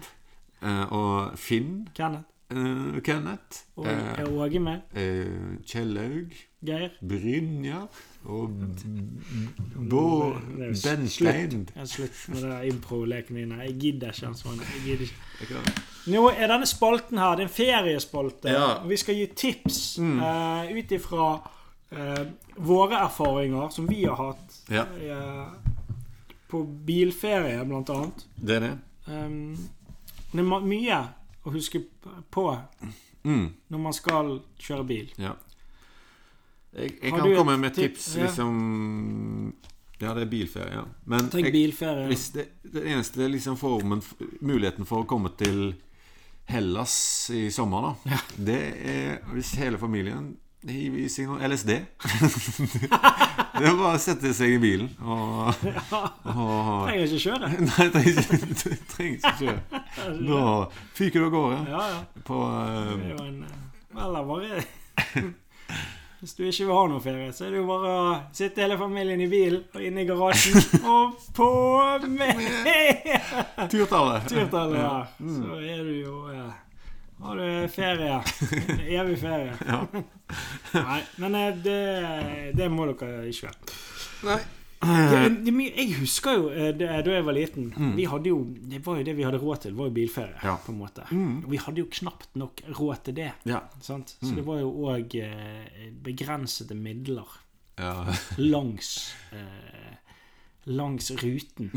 [SPEAKER 2] eh, og Finn,
[SPEAKER 1] Kenneth?
[SPEAKER 2] eh, Kenneth,
[SPEAKER 1] Og
[SPEAKER 2] eh,
[SPEAKER 1] er Åge med?
[SPEAKER 2] eh, Kjellaug
[SPEAKER 1] Geir?
[SPEAKER 2] Brynja og Bård
[SPEAKER 1] Det er jo
[SPEAKER 2] Benstein.
[SPEAKER 1] Jeg har slutt med den impro-leken din. Jeg gidder ikke. Hans Magne. Jeg gidder ikke.
[SPEAKER 2] Ja,
[SPEAKER 1] Nå er denne spalten her, det er en feriespalte.
[SPEAKER 2] Ja. Mm.
[SPEAKER 1] Og Vi skal gi tips eh, ut ifra eh, våre erfaringer som vi har hatt eh, på bilferie, blant annet.
[SPEAKER 2] det er det.
[SPEAKER 1] Um, det er ma- mye å huske p- på
[SPEAKER 2] Mm,
[SPEAKER 1] når man skal kjøre bil.
[SPEAKER 2] ja. Jeg, jeg
[SPEAKER 1] Har
[SPEAKER 2] kan
[SPEAKER 1] du et
[SPEAKER 2] komme med
[SPEAKER 1] tip-
[SPEAKER 2] tips,
[SPEAKER 1] ja.
[SPEAKER 2] liksom Ja, det er bilferie, ja. Men
[SPEAKER 1] Tenk
[SPEAKER 2] jeg,
[SPEAKER 1] bilferie.
[SPEAKER 2] hvis det, det eneste liksom formen, muligheten for å komme til Hellas i sommer, da, det er hvis hele familien hiver i seg noe LSD. det er bare å sette seg i bilen og, og
[SPEAKER 1] Trenger ikke kjøre. Altså,
[SPEAKER 2] Nei, det trenger ikke- det trenger ikke skje. Da fyker du av gårde
[SPEAKER 1] Ja, ja.
[SPEAKER 2] på
[SPEAKER 1] Det er
[SPEAKER 2] eh,
[SPEAKER 1] jo en Eller bare Hvis du ikke vil ha noe ferie, så er det jo bare å sitte hele familien i bilen og inne i garasjen og på med
[SPEAKER 2] turtallet.
[SPEAKER 1] turtallet her. Så er du jo eh, har du ferie. En Evig ferie.
[SPEAKER 2] Ja.
[SPEAKER 1] Nei, men eh, det, det må dere ikke gjøre.
[SPEAKER 2] Nei. Eh,
[SPEAKER 1] Det, det, er mye- jeg husker jo eh, det, da jeg var liten Vi hadde jo, Det var jo det vi hadde råd til, var jo bilferie.
[SPEAKER 2] Ja.
[SPEAKER 1] på en måte Og Vi hadde jo knapt nok råd til det.
[SPEAKER 2] Ja.
[SPEAKER 1] Sant? Så det var jo òg eh, begrensede midler
[SPEAKER 2] ja.
[SPEAKER 1] langs eh, Langs ruten.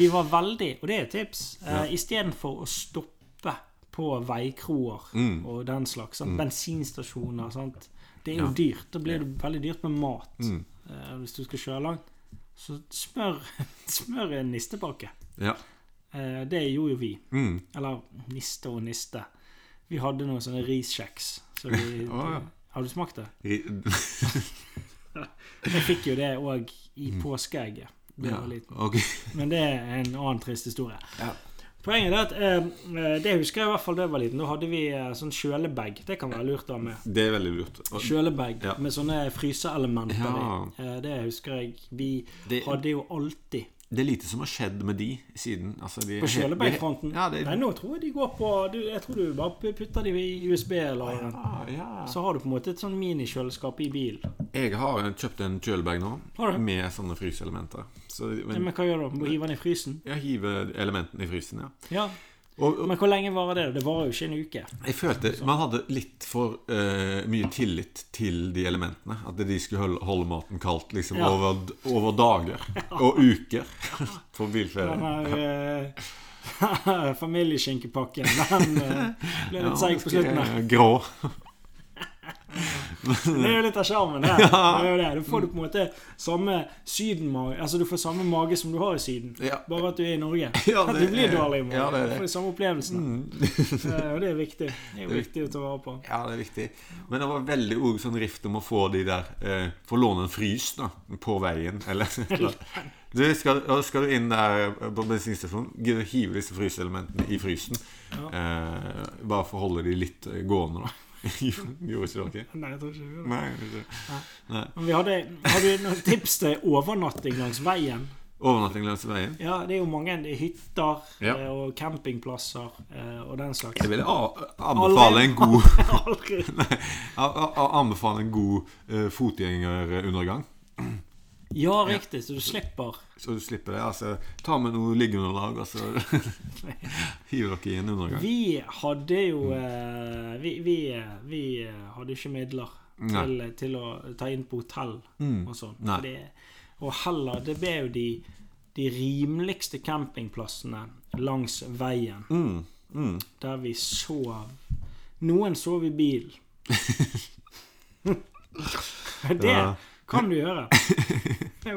[SPEAKER 1] Vi var veldig, og det er et tips, eh, istedenfor å stoppe på veikroer
[SPEAKER 2] Mm.
[SPEAKER 1] og den slags. Sant? Bensinstasjoner. Sant? Det er jo dyrt. Da blir det veldig dyrt med mat.
[SPEAKER 2] Mm.
[SPEAKER 1] Eh, hvis du skal kjøre langt, så smør, smør en nistepakke.
[SPEAKER 2] ja.
[SPEAKER 1] Eh, det gjorde jo vi.
[SPEAKER 2] Mm.
[SPEAKER 1] Eller niste og niste. Vi hadde noen sånne riskjeks. Så vi,
[SPEAKER 2] Å, ja.
[SPEAKER 1] Har du smakt det?
[SPEAKER 2] Ri-
[SPEAKER 1] Jeg fikk jo det òg i påskeegget. da jeg
[SPEAKER 2] Mm. ja.
[SPEAKER 1] var liten.
[SPEAKER 2] Ok.
[SPEAKER 1] Men det er en annen trist historie.
[SPEAKER 2] Ja.
[SPEAKER 1] Poenget er at eh, det husker jeg i hvert fall da jeg var liten. Da hadde vi eh, sånn kjølebag. Det kan være lurt å ha med.
[SPEAKER 2] Det er veldig lurt. Og
[SPEAKER 1] Kjølebag
[SPEAKER 2] Ja.
[SPEAKER 1] med sånne fryseelementer
[SPEAKER 2] Ja.
[SPEAKER 1] i. Eh, Det husker jeg. Vi
[SPEAKER 2] Det-
[SPEAKER 1] hadde jo alltid
[SPEAKER 2] Det er lite som har skjedd med de siden. Altså, de,
[SPEAKER 1] På kjølebekkfronten?
[SPEAKER 2] Ja, det,
[SPEAKER 1] Nei, nå tror jeg de går på du, Jeg tror du bare putter de i USB-lageren.
[SPEAKER 2] ja, Ah, ja.
[SPEAKER 1] Så har du på en måte et sånn minikjøleskap i bilen.
[SPEAKER 2] Jeg har kjøpt en kjølebag nå
[SPEAKER 1] Har du?
[SPEAKER 2] med sånne fryseelementer. Så,
[SPEAKER 1] Ja,
[SPEAKER 2] men,
[SPEAKER 1] men hva gjør du? Må hive den i frysen?
[SPEAKER 2] jeg hiver elementene i frysen, ja.
[SPEAKER 1] Ja.
[SPEAKER 2] Og, og
[SPEAKER 1] Men hvor lenge varer det? Det varer jo ikke en uke.
[SPEAKER 2] jeg følte man hadde litt for eh, mye tillit til de elementene. At de skulle holde, holde maten kaldt liksom,
[SPEAKER 1] Ja.
[SPEAKER 2] over, over dager og uker på
[SPEAKER 1] Den
[SPEAKER 2] bilferie.
[SPEAKER 1] her eh, familieskinkepakken, den eh, ble litt seig på slutten her.
[SPEAKER 2] Grå.
[SPEAKER 1] Det er jo litt av sjarmen her. Det er jo det. Da får du på en måte samme sydenmage Altså du får samme mage som du har i Syden,
[SPEAKER 2] Ja.
[SPEAKER 1] bare at du er i Norge.
[SPEAKER 2] Ja,
[SPEAKER 1] At
[SPEAKER 2] det
[SPEAKER 1] du blir
[SPEAKER 2] er-
[SPEAKER 1] dårlig i morgen.
[SPEAKER 2] ja, det er
[SPEAKER 1] Du
[SPEAKER 2] det. Mm.
[SPEAKER 1] får de samme opplevelsene. Eh, Og det er viktig. Det er jo viktig å ta vare på.
[SPEAKER 2] Ja, det er viktig. Men det var veldig også sånn rift om å få de der eh, Få låne en frys da på veien, eller et eller annet. du, skal, ja, skal du inn der eh, på bensinstasjonen, gidder du å hive disse fryselementene i frysen? Eh, bare for å holde de litt eh, gående, da. Gjorde ikke dere?
[SPEAKER 1] Nei, jeg tror ikke vi gjør det.
[SPEAKER 2] Nei. ikke. Nei.
[SPEAKER 1] Men vi hadde, har du noen tips til overnatting langs veien?
[SPEAKER 2] Overnatting langs veien?
[SPEAKER 1] Ja, det er jo mange det er hytter
[SPEAKER 2] Ja.
[SPEAKER 1] eh, og campingplasser eh, og den slags.
[SPEAKER 2] Jeg vil a- anbefale en god
[SPEAKER 1] Aldri.
[SPEAKER 2] Nei, a- a- anbefale en god eh, fotgjengerundergang.
[SPEAKER 1] Ja, riktig, så du slipper.
[SPEAKER 2] Så du slipper det. altså Ta med noe liggeunderlag, og så hiver dere i en undergang.
[SPEAKER 1] Vi hadde jo eh, Vi, vi, eh, vi eh, hadde ikke midler
[SPEAKER 2] Nei. Mm.
[SPEAKER 1] til, til å ta inn på hotell og sånn.
[SPEAKER 2] Nei.
[SPEAKER 1] Fordi- Og heller Det ble jo de, de rimeligste campingplassene langs veien,
[SPEAKER 2] Mm, mm.
[SPEAKER 1] der vi sov. Noen sov i bil. det
[SPEAKER 2] Ja.
[SPEAKER 1] kan du gjøre.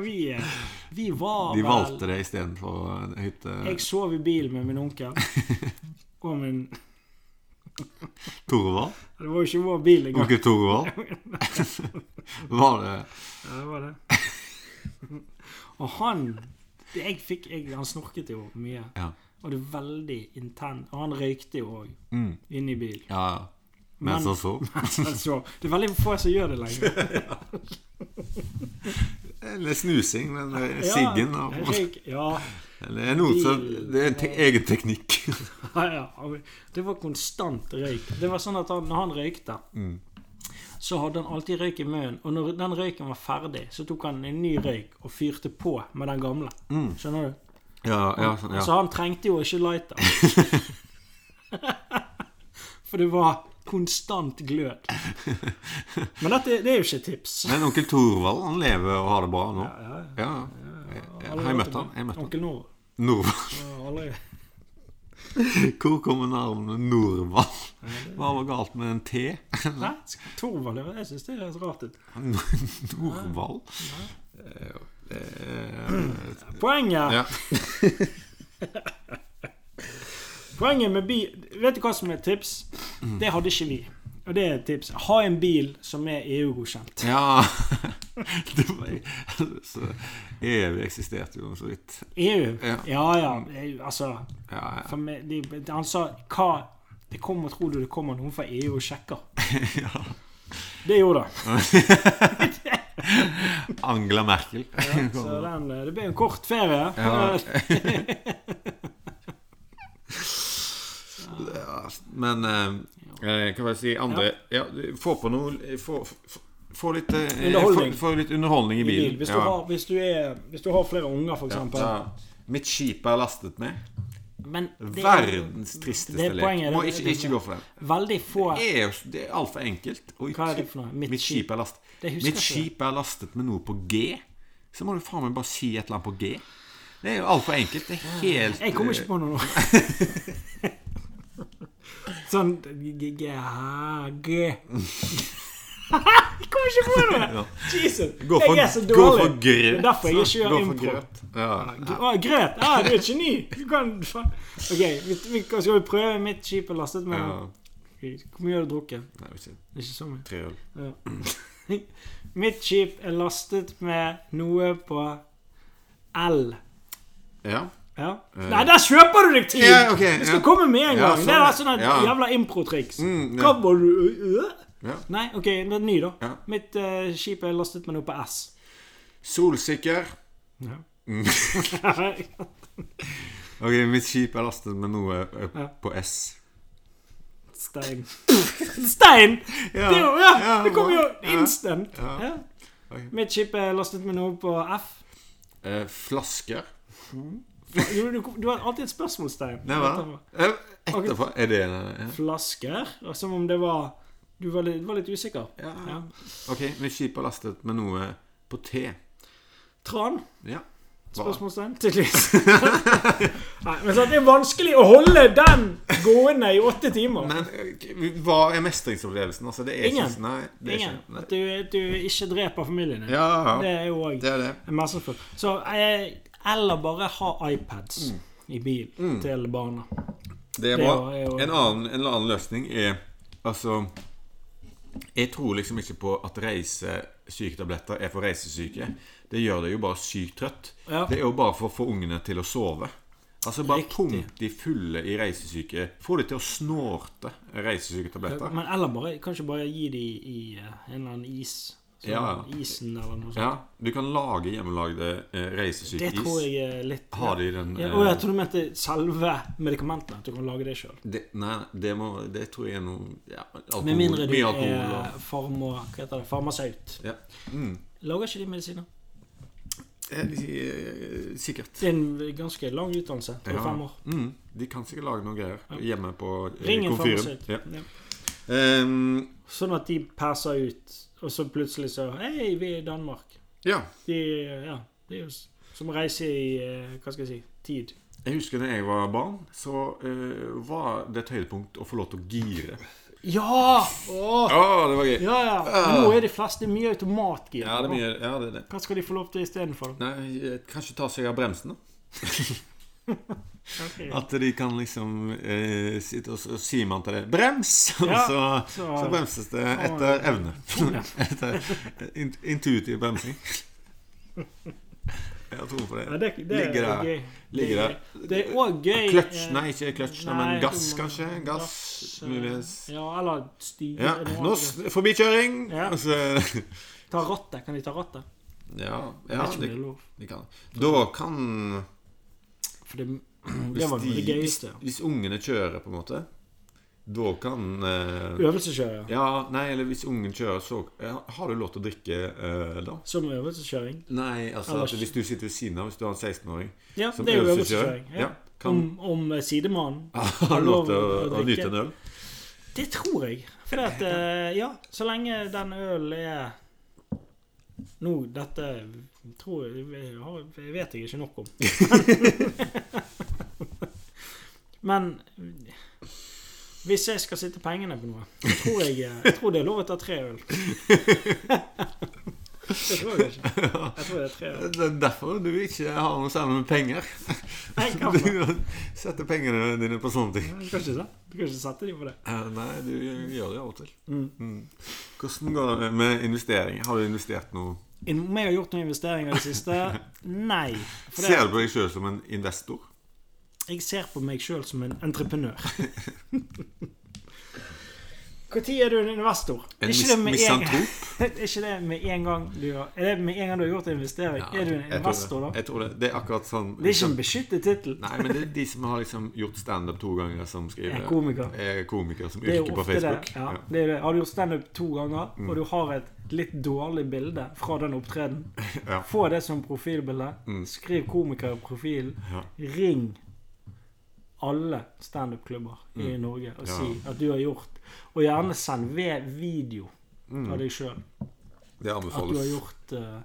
[SPEAKER 1] Vi, eh, vi var
[SPEAKER 2] De
[SPEAKER 1] vel-
[SPEAKER 2] valgte det istedenfor en hytte.
[SPEAKER 1] Jeg sov i bil med min onkel. Og min
[SPEAKER 2] Torvald?
[SPEAKER 1] Det var jo ikke vår bil engang.
[SPEAKER 2] Onkel Torvald? Var det
[SPEAKER 1] Ja, det var det. Og han det jeg fikk, jeg, Han snorket jo mye.
[SPEAKER 2] Ja.
[SPEAKER 1] Og det er veldig intent. Og han røykte jo òg
[SPEAKER 2] Mm.
[SPEAKER 1] inne i bil.
[SPEAKER 2] Ja, ja. Mens han sov?
[SPEAKER 1] Altså, det er veldig få som gjør det lenger.
[SPEAKER 2] Eller snusing, men det er
[SPEAKER 1] Ja,
[SPEAKER 2] siggen og
[SPEAKER 1] røyk, ja,
[SPEAKER 2] Det er noe som Det er en te egen teknikk.
[SPEAKER 1] ja, ja. Det var konstant røyk. Det var sånn at han, når han røykte, så hadde han alltid røyk i munnen. Og når den røyken var ferdig, så tok han en ny røyk og fyrte på med den gamle. Skjønner du?
[SPEAKER 2] Ja, ja,
[SPEAKER 1] Så
[SPEAKER 2] sånn, Mm. ja.
[SPEAKER 1] han trengte jo ikke lighter. For det var konstant glød. Men dette det er jo ikke tips.
[SPEAKER 2] Men onkel Torvald han lever og har det bra nå. Ja, ja. Har jeg møtt han? Jeg møtte han.
[SPEAKER 1] Onkel Nord.
[SPEAKER 2] Norvald.
[SPEAKER 1] Jeg har aldri-
[SPEAKER 2] Hvor kommer navnet Norvald? Hva var galt med en T?
[SPEAKER 1] Nei, Torvald. ja, Jeg syns det høres rart ut.
[SPEAKER 2] Norvald?
[SPEAKER 1] Eh, Poenget,
[SPEAKER 2] Ja.
[SPEAKER 1] poenget med bil Vet du hva som er et tips? Det hadde ikke vi. Og det er et tips. Ha en bil som er E EU-godkjent.
[SPEAKER 2] ja. Det var, så evig eksisterte jo så vidt.
[SPEAKER 1] EU?
[SPEAKER 2] Ja.
[SPEAKER 1] E Ja ja. EU, Altså
[SPEAKER 2] Ja, ja.
[SPEAKER 1] for meg, de, Han sa hva Det kommer, tror du det kommer noen fra EU og sjekker?
[SPEAKER 2] ja.
[SPEAKER 1] Det gjorde det.
[SPEAKER 2] Angela Merkel.
[SPEAKER 1] Så den, eh, det ble en kort ferie. eh,
[SPEAKER 2] Ja. Ja, Men eh, eh, kan jeg si andre ja. Få på noe Få, få- få litt eh,
[SPEAKER 1] Underholdning.
[SPEAKER 2] Få, få litt underholdning i
[SPEAKER 1] I bil.
[SPEAKER 2] bilen.
[SPEAKER 1] Hvis, du har, hvis, du er, hvis du har flere unger, for eksempel.
[SPEAKER 2] Ja. Mitt skip er lastet med.
[SPEAKER 1] Men det er
[SPEAKER 2] Verdens
[SPEAKER 1] det
[SPEAKER 2] tristeste
[SPEAKER 1] er
[SPEAKER 2] lek.
[SPEAKER 1] poenget,
[SPEAKER 2] Må
[SPEAKER 1] det-
[SPEAKER 2] ikke,
[SPEAKER 1] det-
[SPEAKER 2] ikke gå for den.
[SPEAKER 1] veldig få
[SPEAKER 2] Det er, jo- det er altfor enkelt. Og
[SPEAKER 1] Hva er det for noe? Mitt
[SPEAKER 2] Mitt, skip er lastet.
[SPEAKER 1] Det husker jeg
[SPEAKER 2] Mitt
[SPEAKER 1] ikke.
[SPEAKER 2] skip er lastet med noe på G. Så må du faen meg bare si et eller annet på G. Det er jo altfor enkelt. Det er helt
[SPEAKER 1] Jeg kommer ikke på noe nå. Sånn g g g Jeg kommer ikke på noe!
[SPEAKER 2] Ja.
[SPEAKER 1] Jesus,
[SPEAKER 2] eh, Gå for,
[SPEAKER 1] jeg er så
[SPEAKER 2] gå
[SPEAKER 1] dårlig.
[SPEAKER 2] for grøt.
[SPEAKER 1] Det er derfor jeg ikke
[SPEAKER 2] Gå
[SPEAKER 1] gjør
[SPEAKER 2] for
[SPEAKER 1] impro.
[SPEAKER 2] grøt. Ja.
[SPEAKER 1] Å, grøt! Ja, du er et geni! Du kan faen. Ok, vi, vi, skal vi prøve mitt skip er lastet med
[SPEAKER 2] Ja.
[SPEAKER 1] Hvor mye har du drukket?
[SPEAKER 2] Nei, ikke
[SPEAKER 1] Ikke så mye.
[SPEAKER 2] tre øl.
[SPEAKER 1] Ja. Mitt skip er lastet med noe på L.
[SPEAKER 2] Ja.
[SPEAKER 1] Ja. Nei, der kjøper du deg tid!
[SPEAKER 2] Eh. Ja, ok,
[SPEAKER 1] du skal
[SPEAKER 2] ja.
[SPEAKER 1] komme med en gang.
[SPEAKER 2] Ja,
[SPEAKER 1] Det
[SPEAKER 2] sånn,
[SPEAKER 1] er sånn et
[SPEAKER 2] ja.
[SPEAKER 1] jævla improtriks.
[SPEAKER 2] Mm, ja.
[SPEAKER 1] Hva var du øh?
[SPEAKER 2] Ja.
[SPEAKER 1] Nei, OK, det er ny, da.
[SPEAKER 2] Ja.
[SPEAKER 1] Mitt eh, skip er lastet med noe på S.
[SPEAKER 2] Solsikker.
[SPEAKER 1] Ja.
[SPEAKER 2] Ok, mitt skip er lastet med noe eh, på S.
[SPEAKER 1] Stein. Stein!
[SPEAKER 2] Ja,
[SPEAKER 1] Det, er jo, ja,
[SPEAKER 2] ja,
[SPEAKER 1] det kom jo
[SPEAKER 2] ja.
[SPEAKER 1] instant. Ja.
[SPEAKER 2] Ja. Ok.
[SPEAKER 1] Mitt skip er lastet med noe på F.
[SPEAKER 2] Eh, flasker.
[SPEAKER 1] Jo, du, du har alltid et spørsmålstegn.
[SPEAKER 2] Det var
[SPEAKER 1] Etterpå.
[SPEAKER 2] Eh, Etterpå Er det ja.
[SPEAKER 1] Flasker? Og Som om det var Du var litt, var litt usikker.
[SPEAKER 2] Ja.
[SPEAKER 1] Ja.
[SPEAKER 2] Ok, mitt skip er lastet med noe på T.
[SPEAKER 1] Tran?
[SPEAKER 2] Ja. Hva?
[SPEAKER 1] Spørsmålstegn? Tydeligvis. Nei, men sant, Det er vanskelig å holde den gående i åtte timer.
[SPEAKER 2] Men eh, hva er meistringsopplevelsen? Altså, det er
[SPEAKER 1] Ingen.
[SPEAKER 2] Ikke, nei, det er
[SPEAKER 1] Ingen.
[SPEAKER 2] Ikke, nei.
[SPEAKER 1] At du, at du ikke dreper familien din.
[SPEAKER 2] Ja,
[SPEAKER 1] Det er jo òg
[SPEAKER 2] det er det.
[SPEAKER 1] mestringsfullt. Så eh, Eller bare ha iPads
[SPEAKER 2] Mm.
[SPEAKER 1] i bil til barna.
[SPEAKER 2] Det er
[SPEAKER 1] Det
[SPEAKER 2] bra.
[SPEAKER 1] er jo- er jo-
[SPEAKER 2] En annen, en annen løsning er Altså Jeg tror liksom ikke på at reisesyketabletter er for reisesyke. Det gjør deg jo bare sykt trøtt.
[SPEAKER 1] Ja.
[SPEAKER 2] Det er jo bare for å få ungene til å sove. Altså Bare
[SPEAKER 1] Riktig.
[SPEAKER 2] pump de fulle i reisesyke. Få de til å snorte reisesyketabletter.
[SPEAKER 1] Men eller bare Kanskje bare gi de i eh, en eller annen is. Sånn,
[SPEAKER 2] Ja.
[SPEAKER 1] Isen eller noe sånt.
[SPEAKER 2] Ja, Du kan lage hjemmelagde eh,
[SPEAKER 1] Det tror
[SPEAKER 2] reisesykeis.
[SPEAKER 1] jeg er litt
[SPEAKER 2] Har de den
[SPEAKER 1] ja,
[SPEAKER 2] eh,
[SPEAKER 1] Og jeg tror du mente selve medikamentene. At du kan lage det sjøl.
[SPEAKER 2] det, Nei, det, må, det tror jeg er noe ja, alkohol,
[SPEAKER 1] Med mindre du
[SPEAKER 2] Mye alkohol.
[SPEAKER 1] er farmo, hva heter det, farmasaut.
[SPEAKER 2] Og, ja. mm.
[SPEAKER 1] Lager ikke de medisiner?
[SPEAKER 2] Eh, eh, Sikkert.
[SPEAKER 1] Det er en ganske lang utdannelse. Tre
[SPEAKER 2] Ja.
[SPEAKER 1] fem år.
[SPEAKER 2] Mm, de kan sikkert lage noen greier hjemme på eh,
[SPEAKER 1] Ring en
[SPEAKER 2] komfyren.
[SPEAKER 1] farmasøyt.
[SPEAKER 2] Ja.
[SPEAKER 1] Ja.
[SPEAKER 2] Ehm,
[SPEAKER 1] Sånn at de passer ut, og så plutselig så Hei, vi er i Danmark.
[SPEAKER 2] ja.
[SPEAKER 1] De, ja, det er jo s- som å reise i eh, Hva skal jeg si tid.
[SPEAKER 2] Jeg husker da jeg var barn, så eh, var det et høydepunkt å få lov til å gire.
[SPEAKER 1] Ja!
[SPEAKER 2] Å, det var gøy!
[SPEAKER 1] Ja, ja. Men nå er de fleste mye automatgir.
[SPEAKER 2] Ja, det er mye Ja, det er det.
[SPEAKER 1] Hva skal de få lov til istedenfor?
[SPEAKER 2] Nei, eh, kanskje ta seg av bremsen, da.
[SPEAKER 1] Okay.
[SPEAKER 2] At de kan liksom eh, sitte og, s- og sier man til det 'brems', og
[SPEAKER 1] Ja,
[SPEAKER 2] så, så,
[SPEAKER 1] så-
[SPEAKER 2] bremses det etter evne. etter in, intuitiv bremsing. Jeg tror på det.
[SPEAKER 1] Ja, det, det
[SPEAKER 2] Ligger
[SPEAKER 1] er
[SPEAKER 2] der.
[SPEAKER 1] gøy.
[SPEAKER 2] Ligger
[SPEAKER 1] det,
[SPEAKER 2] der.
[SPEAKER 1] er gøy. det er òg gøy
[SPEAKER 2] Kløtsj,
[SPEAKER 1] eh,
[SPEAKER 2] nei, ikke kløtsj, nei,
[SPEAKER 1] nei,
[SPEAKER 2] men gass,
[SPEAKER 1] du må-
[SPEAKER 2] kanskje? Gass,
[SPEAKER 1] eh,
[SPEAKER 2] muligens.
[SPEAKER 1] Ja, eller styre
[SPEAKER 2] Ja,
[SPEAKER 1] noe
[SPEAKER 2] nå
[SPEAKER 1] annet.
[SPEAKER 2] s- forbikjøring!
[SPEAKER 1] Ja.
[SPEAKER 2] Altså,
[SPEAKER 1] Ta rattet. Kan de ta rattet?
[SPEAKER 2] ja,
[SPEAKER 1] Jeg
[SPEAKER 2] ja
[SPEAKER 1] vet ikke om det
[SPEAKER 2] de,
[SPEAKER 1] er lov.
[SPEAKER 2] de kan Da kan
[SPEAKER 1] For det,
[SPEAKER 2] hvis,
[SPEAKER 1] det var noe av
[SPEAKER 2] de,
[SPEAKER 1] det
[SPEAKER 2] hvis,
[SPEAKER 1] gøyeste.
[SPEAKER 2] hvis ungene kjører, på en måte, da kan eh,
[SPEAKER 1] Øvelseskjøring.
[SPEAKER 2] Ja, nei, eller hvis ungen kjører, så ja, Har du lov til å drikke eh, da?
[SPEAKER 1] Som øvelseskjøring.
[SPEAKER 2] Nei, altså
[SPEAKER 1] Ellers-
[SPEAKER 2] at hvis du sitter ved siden av, hvis du har en 16-åring
[SPEAKER 1] Ja,
[SPEAKER 2] som
[SPEAKER 1] det er jo
[SPEAKER 2] øvelseskjører,
[SPEAKER 1] øvelseskjøring.
[SPEAKER 2] ja,
[SPEAKER 1] Ja.
[SPEAKER 2] kan
[SPEAKER 1] Om, om eh, sidemannen.
[SPEAKER 2] ha lov til å, å
[SPEAKER 1] drikke.
[SPEAKER 2] nyte en øl.
[SPEAKER 1] Det tror jeg. For at, eh, ja, så lenge den ølen er Nå, dette tror jeg jeg har- jeg vet jeg ikke nok om. Men hvis jeg skal sitte pengene på noe, så tror jeg, eh, jeg tror det er lov å ta tre øl. Det tror jeg ikke. Jeg tror det er tre øl.
[SPEAKER 2] Det er derfor du ikke har noe særlig med penger.
[SPEAKER 1] Nei, kan man?
[SPEAKER 2] Du setter pengene dine på sånne ting.
[SPEAKER 1] Du kan ikke, se- du kan ikke sette dem på det.
[SPEAKER 2] Eh, Nei, du gjør det av og til. Mm. Hvordan går det med investeringer? Har du investert noe?
[SPEAKER 1] Om jeg har gjort noen investeringer i det siste? Nei. For det,
[SPEAKER 2] Ser du på deg sjøl som en investor?
[SPEAKER 1] jeg ser på meg sjøl som en entreprenør. Når er du en investor?
[SPEAKER 2] En
[SPEAKER 1] Er ikke
[SPEAKER 2] mis
[SPEAKER 1] det med en-
[SPEAKER 2] misantrop?
[SPEAKER 1] Er ikke det med en gang du har, er det med en gang du har gjort en investering? er du en
[SPEAKER 2] Jeg tror
[SPEAKER 1] investor da?
[SPEAKER 2] det. Jeg tror det. Det er akkurat sånn
[SPEAKER 1] Det er ikke en beskyttet tittel.
[SPEAKER 2] Nei, men det er de som har liksom gjort standup to ganger, som skriver
[SPEAKER 1] Er komiker.
[SPEAKER 2] Er komiker som
[SPEAKER 1] Det er
[SPEAKER 2] yrke
[SPEAKER 1] jo
[SPEAKER 2] på
[SPEAKER 1] ofte det.
[SPEAKER 2] Facebook.
[SPEAKER 1] Ja,
[SPEAKER 2] Ja. Mm.
[SPEAKER 1] det, er det. Har du gjort standup to ganger, og du har et litt dårlig bilde fra den opptredenen,
[SPEAKER 2] Ja. Mm.
[SPEAKER 1] få det som profilbilde. Skriv komiker i profilen.
[SPEAKER 2] Ja.
[SPEAKER 1] Ring alle standup-klubber i Norge og
[SPEAKER 2] Mm. Ja.
[SPEAKER 1] si at du har gjort Og gjerne send ved video av deg sjøl
[SPEAKER 2] Mm. Det
[SPEAKER 1] at du har
[SPEAKER 2] anbefales.
[SPEAKER 1] gjort eh,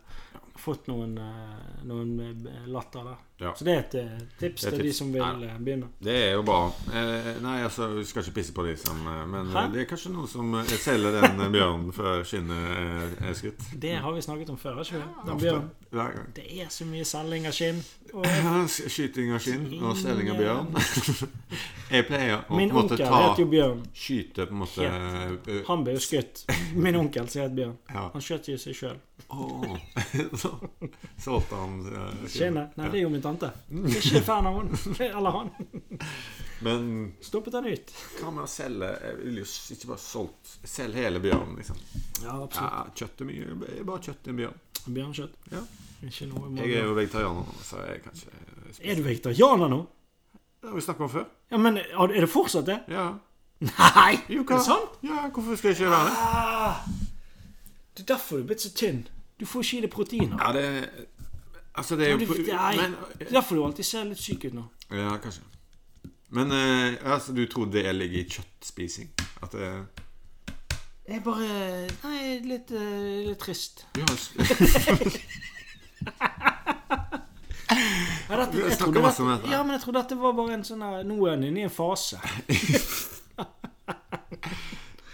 [SPEAKER 1] Fått noen, eh, noen eh, latter der.
[SPEAKER 2] Ja.
[SPEAKER 1] Så det er et eh, tips
[SPEAKER 2] Det er
[SPEAKER 1] til de
[SPEAKER 2] tips.
[SPEAKER 1] som vil
[SPEAKER 2] Ja.
[SPEAKER 1] eh, begynne.
[SPEAKER 2] Det er jo bra. Eh, nei, altså, vi skal ikke pisse på de som eh, Men
[SPEAKER 1] Hæ?
[SPEAKER 2] eh, det er kanskje noen som eh, selger den eh, bjørnen før skinnet eh, er skutt.
[SPEAKER 1] Det har vi snakket om før. har Ikke? vi? Den
[SPEAKER 2] Ofte.
[SPEAKER 1] bjørnen.
[SPEAKER 2] Hver gang.
[SPEAKER 1] Det er så mye selging av skinn. Og
[SPEAKER 2] Ja, s- Skyting av skinn og selling av bjørn. Jeg pleier å på en
[SPEAKER 1] min
[SPEAKER 2] måte
[SPEAKER 1] onkel
[SPEAKER 2] ta
[SPEAKER 1] het jo Bjørn.
[SPEAKER 2] Skyte på en måte eh,
[SPEAKER 1] Han ble jo skutt. Min onkel som het Bjørn.
[SPEAKER 2] Ja.
[SPEAKER 1] Han skjøt jo seg sjøl.
[SPEAKER 2] åh. Så solgte han eh, skinnet.
[SPEAKER 1] Skinnet? Nei, det er jo min tante.
[SPEAKER 2] Mm.
[SPEAKER 1] Ikke fan av hun. Eller han.
[SPEAKER 2] Men
[SPEAKER 1] Stoppet han ut.
[SPEAKER 2] hva med å selge Jeg vil jo s- ikke bare solgt Selg hele bjørnen, liksom.
[SPEAKER 1] Ja, absolutt.
[SPEAKER 2] Ja, kjøtt er mye. Bare kjøtt i en bjørn.
[SPEAKER 1] Bjørnkjøtt.
[SPEAKER 2] Ja.
[SPEAKER 1] Ikke noe må-
[SPEAKER 2] Jeg er jo vegetarianer, nå, så jeg kan ikke
[SPEAKER 1] Er du vegetarianer nå?
[SPEAKER 2] Det har vi snakket om før.
[SPEAKER 1] Ja, men har- Er det fortsatt det?
[SPEAKER 2] Ja.
[SPEAKER 1] Nei!
[SPEAKER 2] Jo,
[SPEAKER 1] Er det sant?
[SPEAKER 2] Ja, hvorfor skal jeg ikke være det?
[SPEAKER 1] Ah, det er derfor du er blitt så tynn. Du får ikke i deg proteiner.
[SPEAKER 2] Ja, det Altså, det er jo
[SPEAKER 1] Nei,
[SPEAKER 2] men,
[SPEAKER 1] det er derfor du alltid ser litt syk ut nå.
[SPEAKER 2] Ja, kanskje. Men eh, altså, du tror det ligger i kjøttspising? At det
[SPEAKER 1] Jeg er bare Nei, litt, eh, litt trist.
[SPEAKER 2] Ja,
[SPEAKER 1] Ja, dette,
[SPEAKER 2] Vi har
[SPEAKER 1] jeg
[SPEAKER 2] snakket
[SPEAKER 1] trodde
[SPEAKER 2] masse om
[SPEAKER 1] dette-
[SPEAKER 2] dette.
[SPEAKER 1] Ja, men jeg trodde dette var bare en sånn her Nå er han inne i en fase.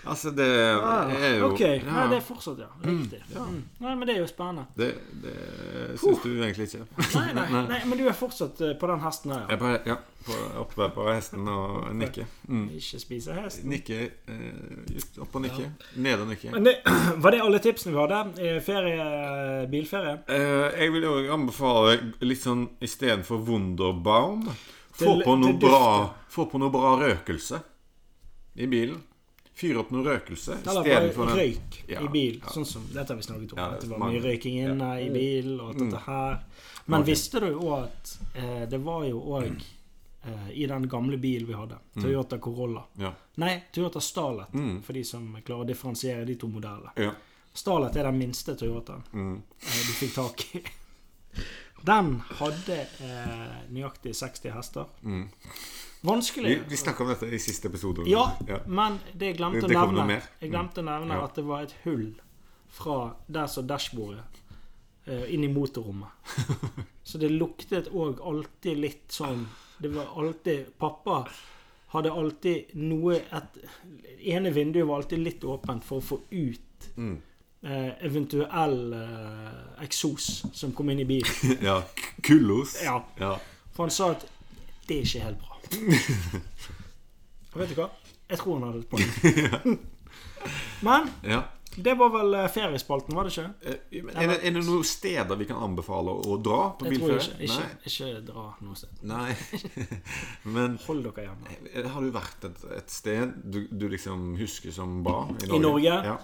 [SPEAKER 2] altså, det er jo
[SPEAKER 1] Ah, Ok. Nei,
[SPEAKER 2] ja,
[SPEAKER 1] det er fortsatt, ja. Riktig. Mm. Nei, men det er jo spennende.
[SPEAKER 2] Det, det syns du egentlig ikke.
[SPEAKER 1] Nei, nei, nei, men du er fortsatt eh, på den hesten her. ja.
[SPEAKER 2] Jeg bare ja, på, oppe på hesten og nikke.
[SPEAKER 1] Ikke spise hest.
[SPEAKER 2] Nikke eh, just opp og nikke. Ned og nikke.
[SPEAKER 1] Men det, var det alle tipsene vi hadde? Eh, Ferie, bilferie?
[SPEAKER 2] Eh, jeg vil òg anbefale litt sånn istedenfor Wunderbaum Få
[SPEAKER 1] Til-
[SPEAKER 2] på noe
[SPEAKER 1] til
[SPEAKER 2] bra Få på noe bra røkelse i bilen. Fyr opp noe røkelse
[SPEAKER 1] Eller
[SPEAKER 2] istedenfor
[SPEAKER 1] bare
[SPEAKER 2] den.
[SPEAKER 1] røyk
[SPEAKER 2] Ja,
[SPEAKER 1] i bil.
[SPEAKER 2] ja.
[SPEAKER 1] Sånn som, dette har vi snakket om.
[SPEAKER 2] Ja, Mm.
[SPEAKER 1] at det var
[SPEAKER 2] mange-
[SPEAKER 1] mye røyking inne i bil og alt dette her. Men visste du òg at eh, det var jo òg eh, i den gamle bilen vi hadde,
[SPEAKER 2] Mm.
[SPEAKER 1] Toyota Corolla
[SPEAKER 2] Ja.
[SPEAKER 1] Nei, Toyota Starlet,
[SPEAKER 2] Mm.
[SPEAKER 1] for de som klarer å differensiere de to modellene.
[SPEAKER 2] Ja. Mm,
[SPEAKER 1] Starlet er den minste Toyotaen eh, du fikk tak i. Den hadde eh, nøyaktig 60 hester.
[SPEAKER 2] Vi,
[SPEAKER 1] Vanskelig.
[SPEAKER 2] vi snakka om dette i siste episode.
[SPEAKER 1] Ja, men det jeg glemte
[SPEAKER 2] Det
[SPEAKER 1] å
[SPEAKER 2] kom noe
[SPEAKER 1] nevne,
[SPEAKER 2] mer. Mm.
[SPEAKER 1] jeg glemte å nevne
[SPEAKER 2] Ja.
[SPEAKER 1] at det var et hull fra der som dashbordet eh, inn i motorrommet. Så det luktet òg alltid litt sånn Det var alltid Pappa hadde alltid noe et, ene vinduet var alltid litt åpent for å få ut
[SPEAKER 2] Mm.
[SPEAKER 1] eh, eventuell eh, eksos som kom inn i bilen.
[SPEAKER 2] ja. Kullos.
[SPEAKER 1] Ja.
[SPEAKER 2] ja.
[SPEAKER 1] For han sa at det er ikke helt bra. Og vet du hva? Jeg tror han hadde et poeng. Men
[SPEAKER 2] ja.
[SPEAKER 1] det var vel eh, feriespalten, var det ikke?
[SPEAKER 2] Eh, men Er, det, er det noen steder vi kan anbefale å dra på
[SPEAKER 1] Jeg tror
[SPEAKER 2] bilferie?
[SPEAKER 1] ikke. Ikke, ikke dra noe sted.
[SPEAKER 2] Nei. Nei. men
[SPEAKER 1] Hold dere hjemme.
[SPEAKER 2] Eh, har du vært et, et sted du, du liksom husker som bra? I Norge?
[SPEAKER 1] Norge?
[SPEAKER 2] Ja.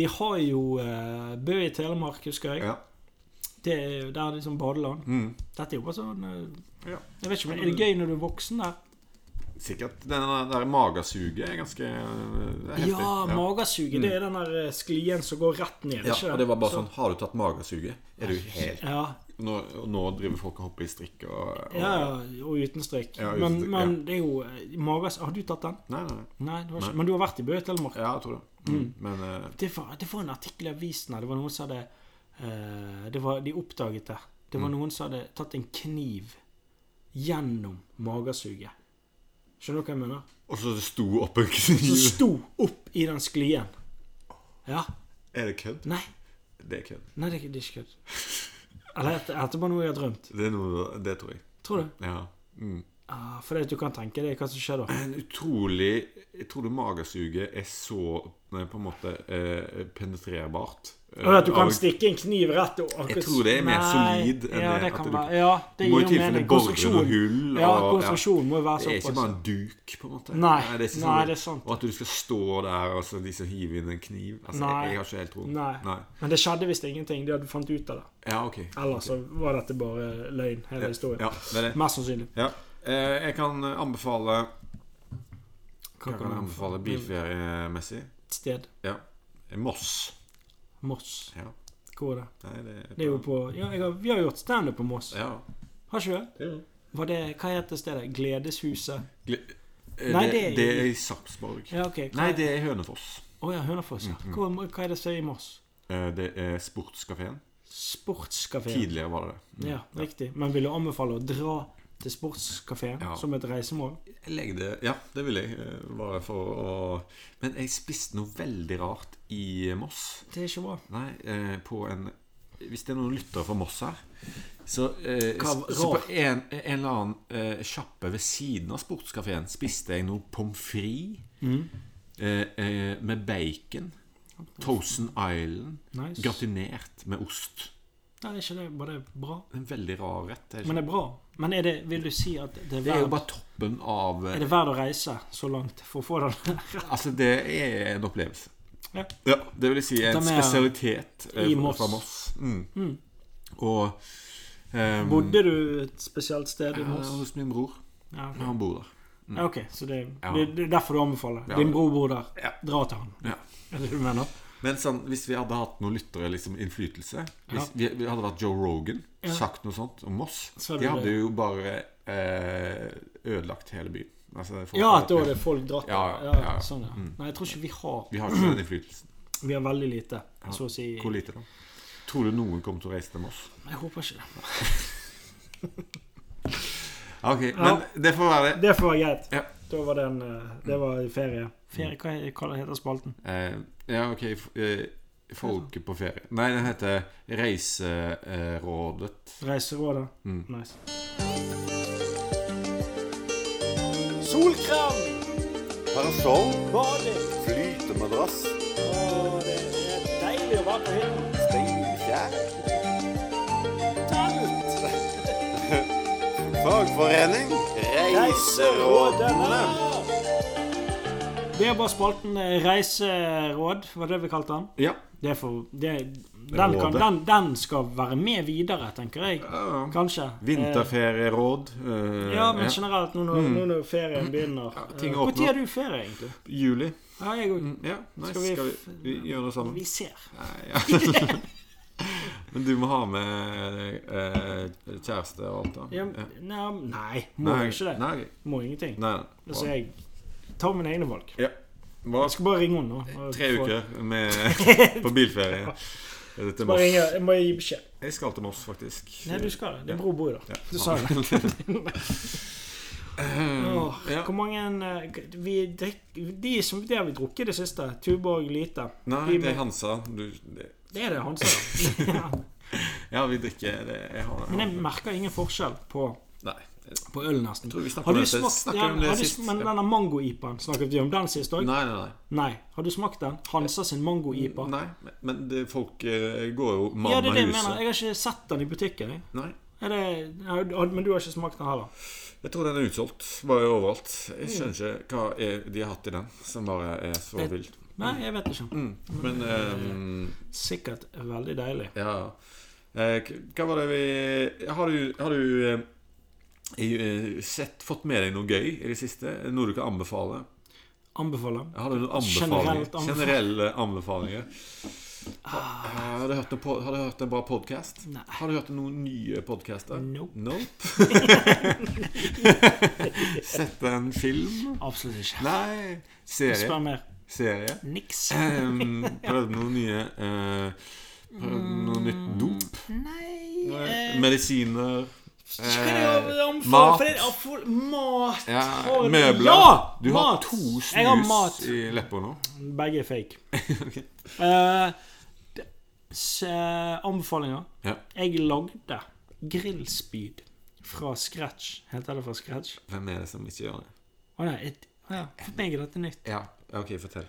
[SPEAKER 1] Vi har jo eh, Bø i Telemark, husker jeg.
[SPEAKER 2] ja. Mm.
[SPEAKER 1] Det er, jo- der er liksom badeland. Dette er jo bare sånn eh,
[SPEAKER 2] Ja.
[SPEAKER 1] Jeg vet ikke, men Er det gøy når du er voksen der?
[SPEAKER 2] Sikkert. Den der magasuget er ganske det er heftig.
[SPEAKER 1] Ja, magesuget. Det er den der eh, sklien som går rett ned.
[SPEAKER 2] Mm. ja,
[SPEAKER 1] ikke
[SPEAKER 2] og det var bare sånn Har du tatt magesuget? Er du helt
[SPEAKER 1] Ja,
[SPEAKER 2] nå, og nå driver folk og hopper i strikk og, og
[SPEAKER 1] ja, og uten strikk.
[SPEAKER 2] Ja, uten
[SPEAKER 1] men,
[SPEAKER 2] strikk,
[SPEAKER 1] men det er jo eh, mages... Har du tatt den?
[SPEAKER 2] Nei, nei. nei.
[SPEAKER 1] Nei, det var ikke. Men du har vært i Bø i Telemark?
[SPEAKER 2] Ja, jeg tror det. Mm. Men eh,
[SPEAKER 1] Det, var, det var en artikkel i avisen her. Det var noen som hadde eh, det var, De oppdaget det. Det
[SPEAKER 2] Mm.
[SPEAKER 1] var noen som hadde tatt en kniv gjennom magesuget. Skjønner du hva jeg mener?
[SPEAKER 2] Og så det sto opp en kniv.
[SPEAKER 1] Som sto opp i den sklien. Ja.
[SPEAKER 2] Er det kødd?
[SPEAKER 1] Nei.
[SPEAKER 2] Det er kødd.
[SPEAKER 1] Nei, det er ikke- det er ikke kødd. Eller er det- er det bare noe jeg har drømt?
[SPEAKER 2] Det er noe Det tror jeg.
[SPEAKER 1] Tror du?
[SPEAKER 2] Ja. Mm.
[SPEAKER 1] Ah, for det at du kan tenke deg hva som skjer da.
[SPEAKER 2] En utrolig Jeg tror det magesuget er så nei, på en måte eh, penetrerbart. eh,
[SPEAKER 1] Og at du
[SPEAKER 2] av
[SPEAKER 1] kan
[SPEAKER 2] en-
[SPEAKER 1] stikke en kniv rett og
[SPEAKER 2] Jeg tror det er mer solid enn
[SPEAKER 1] ja,
[SPEAKER 2] det
[SPEAKER 1] det.
[SPEAKER 2] at
[SPEAKER 1] Kan
[SPEAKER 2] du-
[SPEAKER 1] være, ja,
[SPEAKER 2] Du
[SPEAKER 1] det
[SPEAKER 2] må
[SPEAKER 1] gir
[SPEAKER 2] i
[SPEAKER 1] jo
[SPEAKER 2] tilfelle
[SPEAKER 1] mening.
[SPEAKER 2] borre noe
[SPEAKER 1] Konstruksjon.
[SPEAKER 2] hull.
[SPEAKER 1] Ja,
[SPEAKER 2] og- ja.
[SPEAKER 1] konstruksjon må jo være
[SPEAKER 2] Det er ikke
[SPEAKER 1] såpass.
[SPEAKER 2] bare en duk, på en måte.
[SPEAKER 1] Nei,
[SPEAKER 2] det er ikke
[SPEAKER 1] nei,
[SPEAKER 2] sånn-
[SPEAKER 1] det er sant.
[SPEAKER 2] Og at du skal stå der og så de som hiver inn en kniv. Altså,
[SPEAKER 1] Nei.
[SPEAKER 2] Jeg, jeg har ikke helt troen.
[SPEAKER 1] Nei. Men det skjedde visst ingenting. De hadde fant ut av det.
[SPEAKER 2] Ja, ok.
[SPEAKER 1] Eller så var dette bare løgn, hele historien.
[SPEAKER 2] Ja, det er det.
[SPEAKER 1] Mest sannsynlig.
[SPEAKER 2] Ja. Eh, jeg kan anbefale Hva kan jeg anbefale
[SPEAKER 1] Bil-
[SPEAKER 2] bilferiemessig?
[SPEAKER 1] Et sted.
[SPEAKER 2] Ja. Moss.
[SPEAKER 1] Moss.
[SPEAKER 2] Ja.
[SPEAKER 1] Hvor er det?
[SPEAKER 2] Nei, det,
[SPEAKER 1] Det er jo på Ja, jeg har, vi har gjort standup på Moss.
[SPEAKER 2] Ja.
[SPEAKER 1] Har ikke vi? det?
[SPEAKER 2] Det er jo-
[SPEAKER 1] Var det Hva heter stedet? Gledeshuset?
[SPEAKER 2] Gle- eh,
[SPEAKER 1] Nei,
[SPEAKER 2] det,
[SPEAKER 1] det er-
[SPEAKER 2] det er i Sarpsborg.
[SPEAKER 1] Ja, OK. Hva,
[SPEAKER 2] Nei, det er Hønefoss.
[SPEAKER 1] Å ja, Hønefoss, ja. Hvor, hva er det som er i Moss?
[SPEAKER 2] Eh, Det er Sportskafeen.
[SPEAKER 1] Sportskafé.
[SPEAKER 2] Tidligere var det Mm. det.
[SPEAKER 1] Ja, riktig. Men vil du anbefale å dra til sportskafeen
[SPEAKER 2] Ja.
[SPEAKER 1] som et reisemål?
[SPEAKER 2] Jeg legger det Ja, det vil jeg. eh, Bare for å Men jeg spiste noe veldig rart i Moss.
[SPEAKER 1] Det er ikke bra.
[SPEAKER 2] Nei, eh, på en Hvis det er noen lyttere fra Moss her så, eh,
[SPEAKER 1] Hva
[SPEAKER 2] så
[SPEAKER 1] rart?
[SPEAKER 2] på en, en eller annen eh, sjappe ved siden av sportskafeen spiste jeg noe pommes frites
[SPEAKER 1] Mm.
[SPEAKER 2] eh, eh, med bacon. Toasten Island.
[SPEAKER 1] Nice.
[SPEAKER 2] Gratinert med ost.
[SPEAKER 1] Nei, er ikke det bare bra?
[SPEAKER 2] En veldig rar rett. er det ikke?
[SPEAKER 1] Men det er bra. Men er det, vil du si at det er
[SPEAKER 2] Det er jo
[SPEAKER 1] verdt,
[SPEAKER 2] bare toppen av eh,
[SPEAKER 1] er det verdt å reise så langt for å få den
[SPEAKER 2] Altså, det er en opplevelse.
[SPEAKER 1] Ja.
[SPEAKER 2] Ja, det vil si en
[SPEAKER 1] De er
[SPEAKER 2] spesialitet eh,
[SPEAKER 1] i Moss.
[SPEAKER 2] fra Moss. Mm. Og eh,
[SPEAKER 1] Hmm. Bodde du et spesielt sted i
[SPEAKER 2] ja,
[SPEAKER 1] Moss?
[SPEAKER 2] hos min bror.
[SPEAKER 1] Ja, ok.
[SPEAKER 2] Han bor der.
[SPEAKER 1] Ja, ok, så det,
[SPEAKER 2] Ja.
[SPEAKER 1] det, det er derfor du anbefaler.
[SPEAKER 2] Ja.
[SPEAKER 1] Din bror bor der.
[SPEAKER 2] Ja.
[SPEAKER 1] Dra til han.
[SPEAKER 2] Ja.
[SPEAKER 1] Er det det du mener?
[SPEAKER 2] Men sånn, hvis vi hadde hatt noen lyttere liksom innflytelse Hvis vi, vi hadde vært Joe Rogan, sagt noe sånt om Moss
[SPEAKER 1] Så hadde
[SPEAKER 2] De
[SPEAKER 1] du
[SPEAKER 2] hadde
[SPEAKER 1] det.
[SPEAKER 2] jo bare eh, ødelagt hele byen. Altså, folk-
[SPEAKER 1] Ja, at da er det folk dratt.
[SPEAKER 2] Ja, ja,
[SPEAKER 1] ja,
[SPEAKER 2] ja. Mm.
[SPEAKER 1] Sånn, ja. Nei, jeg tror ikke vi har
[SPEAKER 2] Vi har ikke den innflytelsen.
[SPEAKER 1] Vi har veldig lite, så å si.
[SPEAKER 2] Hvor lite, da? Tror du noen kommer til å reise til Moss?
[SPEAKER 1] Jeg håper ikke det.
[SPEAKER 2] Ja, Ok, men det får være det.
[SPEAKER 1] Det får være greit.
[SPEAKER 2] Ja. Mm.
[SPEAKER 1] Da var det en eh, Det var ferie. Ferie, Hva er- hva heter spalten?
[SPEAKER 2] Eh, ja, ok. f- Eh, folket på ferie. Nei, den heter Reiserådet.
[SPEAKER 1] Reiserådet?
[SPEAKER 2] Mm.
[SPEAKER 1] Nice.
[SPEAKER 3] Solkrem! Parasoll,
[SPEAKER 1] Bading!
[SPEAKER 3] flytemadrass,
[SPEAKER 1] Det er deilig å være på hytta.
[SPEAKER 3] steinkjær. Fagforening, reiserådene.
[SPEAKER 1] Det var spalten eh, Reiseråd, var det vi kalte den.
[SPEAKER 2] Ja.
[SPEAKER 1] Det får- det, den, kan,
[SPEAKER 2] rådet.
[SPEAKER 1] den, den skal være med videre, tenker jeg.
[SPEAKER 2] ja.
[SPEAKER 1] Kanskje.
[SPEAKER 2] Vinterferieråd. eh,
[SPEAKER 1] Eh, Ja, men generelt, nå når, nå når ferien begynner
[SPEAKER 2] Mm. Ja,
[SPEAKER 1] eh,
[SPEAKER 2] ting
[SPEAKER 1] Hvor
[SPEAKER 2] åpner Mm.
[SPEAKER 1] tid
[SPEAKER 2] opp.
[SPEAKER 1] har du ferie, egentlig?
[SPEAKER 2] Juli.
[SPEAKER 1] Ja, jeg òg.
[SPEAKER 2] Ja, nice.
[SPEAKER 1] Skal vi-
[SPEAKER 2] Skal vi, vi gjøre noe sammen?
[SPEAKER 1] Vi ser.
[SPEAKER 2] Nei, ja. Men du må ha med eh, kjæreste og alt, da.
[SPEAKER 1] Ja,
[SPEAKER 2] Ja.
[SPEAKER 1] nei, nei, må
[SPEAKER 2] Nei,
[SPEAKER 1] jo ikke det.
[SPEAKER 2] Nei, ok.
[SPEAKER 1] Må ingenting.
[SPEAKER 2] nei.
[SPEAKER 1] Altså, jeg tar mine egne valg.
[SPEAKER 2] Ja. Hva?
[SPEAKER 1] Jeg skal bare ringe henne nå. og
[SPEAKER 2] Tre
[SPEAKER 1] få-
[SPEAKER 2] uker med, på bilferie. Er det til
[SPEAKER 1] Bare ringe,
[SPEAKER 2] Moss?
[SPEAKER 1] jeg må gi beskjed.
[SPEAKER 2] Jeg skal til Moss, faktisk.
[SPEAKER 1] Nei, du skal det. Din bror bor jo der. Du sa jo det.
[SPEAKER 2] det.
[SPEAKER 1] Åh,
[SPEAKER 2] Eh, Ja.
[SPEAKER 1] Hvor mange eh, vi drikker, De som det har vi drukket i det siste. Tuborg lite.
[SPEAKER 2] Nei,
[SPEAKER 1] Vi
[SPEAKER 2] det er
[SPEAKER 1] må-
[SPEAKER 2] Hansa. Du, det.
[SPEAKER 1] det er det han sier. Ja.
[SPEAKER 2] Ja, vi drikker det. Jeg har
[SPEAKER 1] Men jeg
[SPEAKER 2] det.
[SPEAKER 1] merker ingen forskjell på,
[SPEAKER 2] Nei.
[SPEAKER 1] på øl, nesten.
[SPEAKER 2] tror vi snakket
[SPEAKER 1] Har
[SPEAKER 2] om
[SPEAKER 1] du
[SPEAKER 2] dette-
[SPEAKER 1] smakt
[SPEAKER 2] snakket
[SPEAKER 1] ja,
[SPEAKER 2] om det
[SPEAKER 1] har du,
[SPEAKER 2] sist.
[SPEAKER 1] sm- Men
[SPEAKER 2] Ja.
[SPEAKER 1] denne mango-ipaen snakket vi om den sist òg? Nei.
[SPEAKER 2] Nei, nei, nei.
[SPEAKER 1] Har du smakt den? Hansa sin mango-ipa.
[SPEAKER 2] nei. men- Men det, folk eh, går jo mann
[SPEAKER 1] Ja, det
[SPEAKER 2] av
[SPEAKER 1] er det jeg
[SPEAKER 2] huset.
[SPEAKER 1] mener. Jeg har ikke sett den i butikken. Jeg.
[SPEAKER 2] Nei.
[SPEAKER 1] Er det, har du- har- men du har ikke smakt den heller?
[SPEAKER 2] Jeg tror den er utsolgt. Bare overalt. Jeg skjønner ikke hva er, de har hatt i den, som bare er så
[SPEAKER 1] Det-
[SPEAKER 2] vilt. Mm.
[SPEAKER 1] Nei, jeg vet ikke.
[SPEAKER 2] Men ehm,
[SPEAKER 1] Sikkert veldig deilig.
[SPEAKER 2] ja. Eh, k- Hva var det vi Har du, har du eh, i- eh, sett, fått med deg noe gøy i det siste? Noe du kan anbefale?
[SPEAKER 1] Anbefaler.
[SPEAKER 2] Har du noen anbefalinger?
[SPEAKER 1] Generelt anbefal- Ah.
[SPEAKER 2] Generelle anbefalinger? Har, har, du hørt noe på, har du hørt en bra podkast?
[SPEAKER 1] Nei.
[SPEAKER 2] Har du hørt noen nye podkaster?
[SPEAKER 1] Nope.
[SPEAKER 2] nope. Sett en film?
[SPEAKER 1] Absolutt ikke.
[SPEAKER 2] Nei.
[SPEAKER 1] Spør
[SPEAKER 2] Serie?
[SPEAKER 1] mer.
[SPEAKER 2] Serie?
[SPEAKER 1] Niks.
[SPEAKER 2] Ehm, Prøvd noen nye eh, Prøvd noe nytt dop?
[SPEAKER 1] Nei
[SPEAKER 2] Eh,
[SPEAKER 1] Mm. eh,
[SPEAKER 2] Medisiner?
[SPEAKER 1] Skal jeg anbefale
[SPEAKER 2] mat.
[SPEAKER 1] for det er for- Mat!
[SPEAKER 2] Ja,
[SPEAKER 1] for-
[SPEAKER 2] møbler?
[SPEAKER 1] Ja!
[SPEAKER 2] du har
[SPEAKER 1] mat.
[SPEAKER 2] to
[SPEAKER 1] Jeg har mat.
[SPEAKER 2] snus i leppa nå.
[SPEAKER 1] Begge er fake.
[SPEAKER 2] Ok.
[SPEAKER 1] Eh, det- s- eh, anbefalinger.
[SPEAKER 2] Ja.
[SPEAKER 1] Jeg lagde grillspyd fra scratch. Heter det fra scratch?
[SPEAKER 2] Hvem er det som ikke gjør det?
[SPEAKER 1] Å nei, et, å ja, for meg er dette nytt.
[SPEAKER 2] Ja, OK, fortell.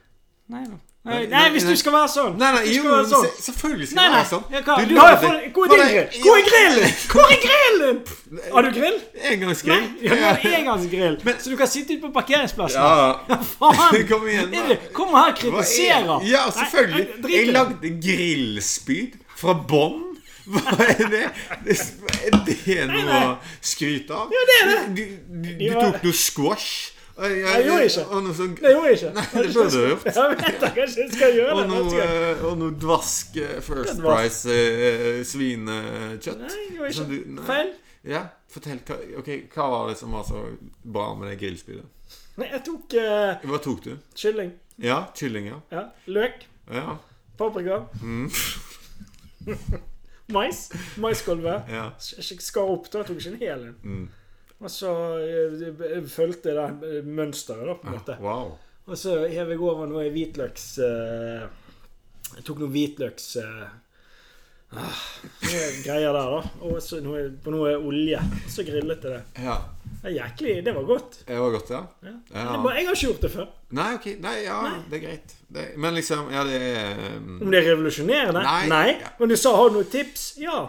[SPEAKER 1] Nei da. Nei,
[SPEAKER 2] Nei,
[SPEAKER 1] nei, hvis
[SPEAKER 2] nei,
[SPEAKER 1] du
[SPEAKER 2] nei.
[SPEAKER 1] skal være sånn!
[SPEAKER 2] Nei, nei,
[SPEAKER 1] Hvis du
[SPEAKER 2] jo,
[SPEAKER 1] skal være
[SPEAKER 2] men
[SPEAKER 1] sånn.
[SPEAKER 2] se- selvfølgelig skal
[SPEAKER 1] Nei,
[SPEAKER 2] det
[SPEAKER 1] nei.
[SPEAKER 2] være sånn.
[SPEAKER 1] Ja, hva? Du har jo fått Hvor er din
[SPEAKER 2] Hva er
[SPEAKER 1] grill?
[SPEAKER 2] det?
[SPEAKER 1] Hvor er grillen? Hvor er grillen? Har du grill?
[SPEAKER 2] Engangsgrill.
[SPEAKER 1] Ja, du har engangsgrill. Så du kan sitte ute på parkeringsplassen.
[SPEAKER 2] Ja.
[SPEAKER 1] Faen!
[SPEAKER 2] Kom igjen,
[SPEAKER 1] Er
[SPEAKER 2] da.
[SPEAKER 1] det- Kom her og
[SPEAKER 2] Hva er-
[SPEAKER 1] kritiserer.
[SPEAKER 2] Ja, selvfølgelig.
[SPEAKER 1] Nei, drit i
[SPEAKER 2] Jeg
[SPEAKER 1] det.
[SPEAKER 2] lagde grillspyd fra bånn. Hva er det? det? Er det noe å
[SPEAKER 1] nei.
[SPEAKER 2] skryte av?
[SPEAKER 1] Ja, det er det.
[SPEAKER 2] Du, du, du
[SPEAKER 1] Ja.
[SPEAKER 2] tok noe squash. Og jeg,
[SPEAKER 1] jeg gjorde ikke.
[SPEAKER 2] Og noe sånn,
[SPEAKER 1] Det gjorde jeg ikke.
[SPEAKER 2] Nei, det burde du ha gjort.
[SPEAKER 1] Jeg vet da, kanskje jeg skal gjøre
[SPEAKER 2] Og
[SPEAKER 1] det neste
[SPEAKER 2] noe,
[SPEAKER 1] gang.
[SPEAKER 2] eh, og noe dvask eh, First
[SPEAKER 1] Dvask.
[SPEAKER 2] Price eh, svinekjøtt.
[SPEAKER 1] Nei, jeg gjorde
[SPEAKER 2] Som
[SPEAKER 1] ikke.
[SPEAKER 2] du- nei.
[SPEAKER 1] Feil.
[SPEAKER 2] Ja, fortell. Hva, ok, hva var det som var så bra med det grillspydet?
[SPEAKER 1] Nei, jeg tok eh,
[SPEAKER 2] Hva tok du?
[SPEAKER 1] kylling.
[SPEAKER 2] Ja, kylling, ja.
[SPEAKER 1] Ja, løk.
[SPEAKER 2] Ja,
[SPEAKER 1] Paprika.
[SPEAKER 2] Mm.
[SPEAKER 1] Mais. Maiskolve.
[SPEAKER 2] ja. Mm.
[SPEAKER 1] Jeg skar opp, da. Jeg tok ikke en hel en. Og så eh, jeg fulgte det eh, mønsteret, da, på en måte.
[SPEAKER 2] Wow.
[SPEAKER 1] Og så hev jeg over noe hvitløks eh, Jeg tok noe hvitløks eh, ah, noe greier der, da. Og så noe, på noe olje. Og så grillet jeg det.
[SPEAKER 2] Ja,
[SPEAKER 1] Det er jæklig, det var godt.
[SPEAKER 2] det var godt, ja.
[SPEAKER 1] Ja.
[SPEAKER 2] Ja.
[SPEAKER 1] Jeg, bare, jeg har ikke gjort det før.
[SPEAKER 2] Nei, ok. Nei, ja, det er greit. Det, men liksom, ja, det er um,
[SPEAKER 1] Om det er revolusjonerende?
[SPEAKER 2] Nei.
[SPEAKER 1] Men du sa 'har du noen tips'? Ja.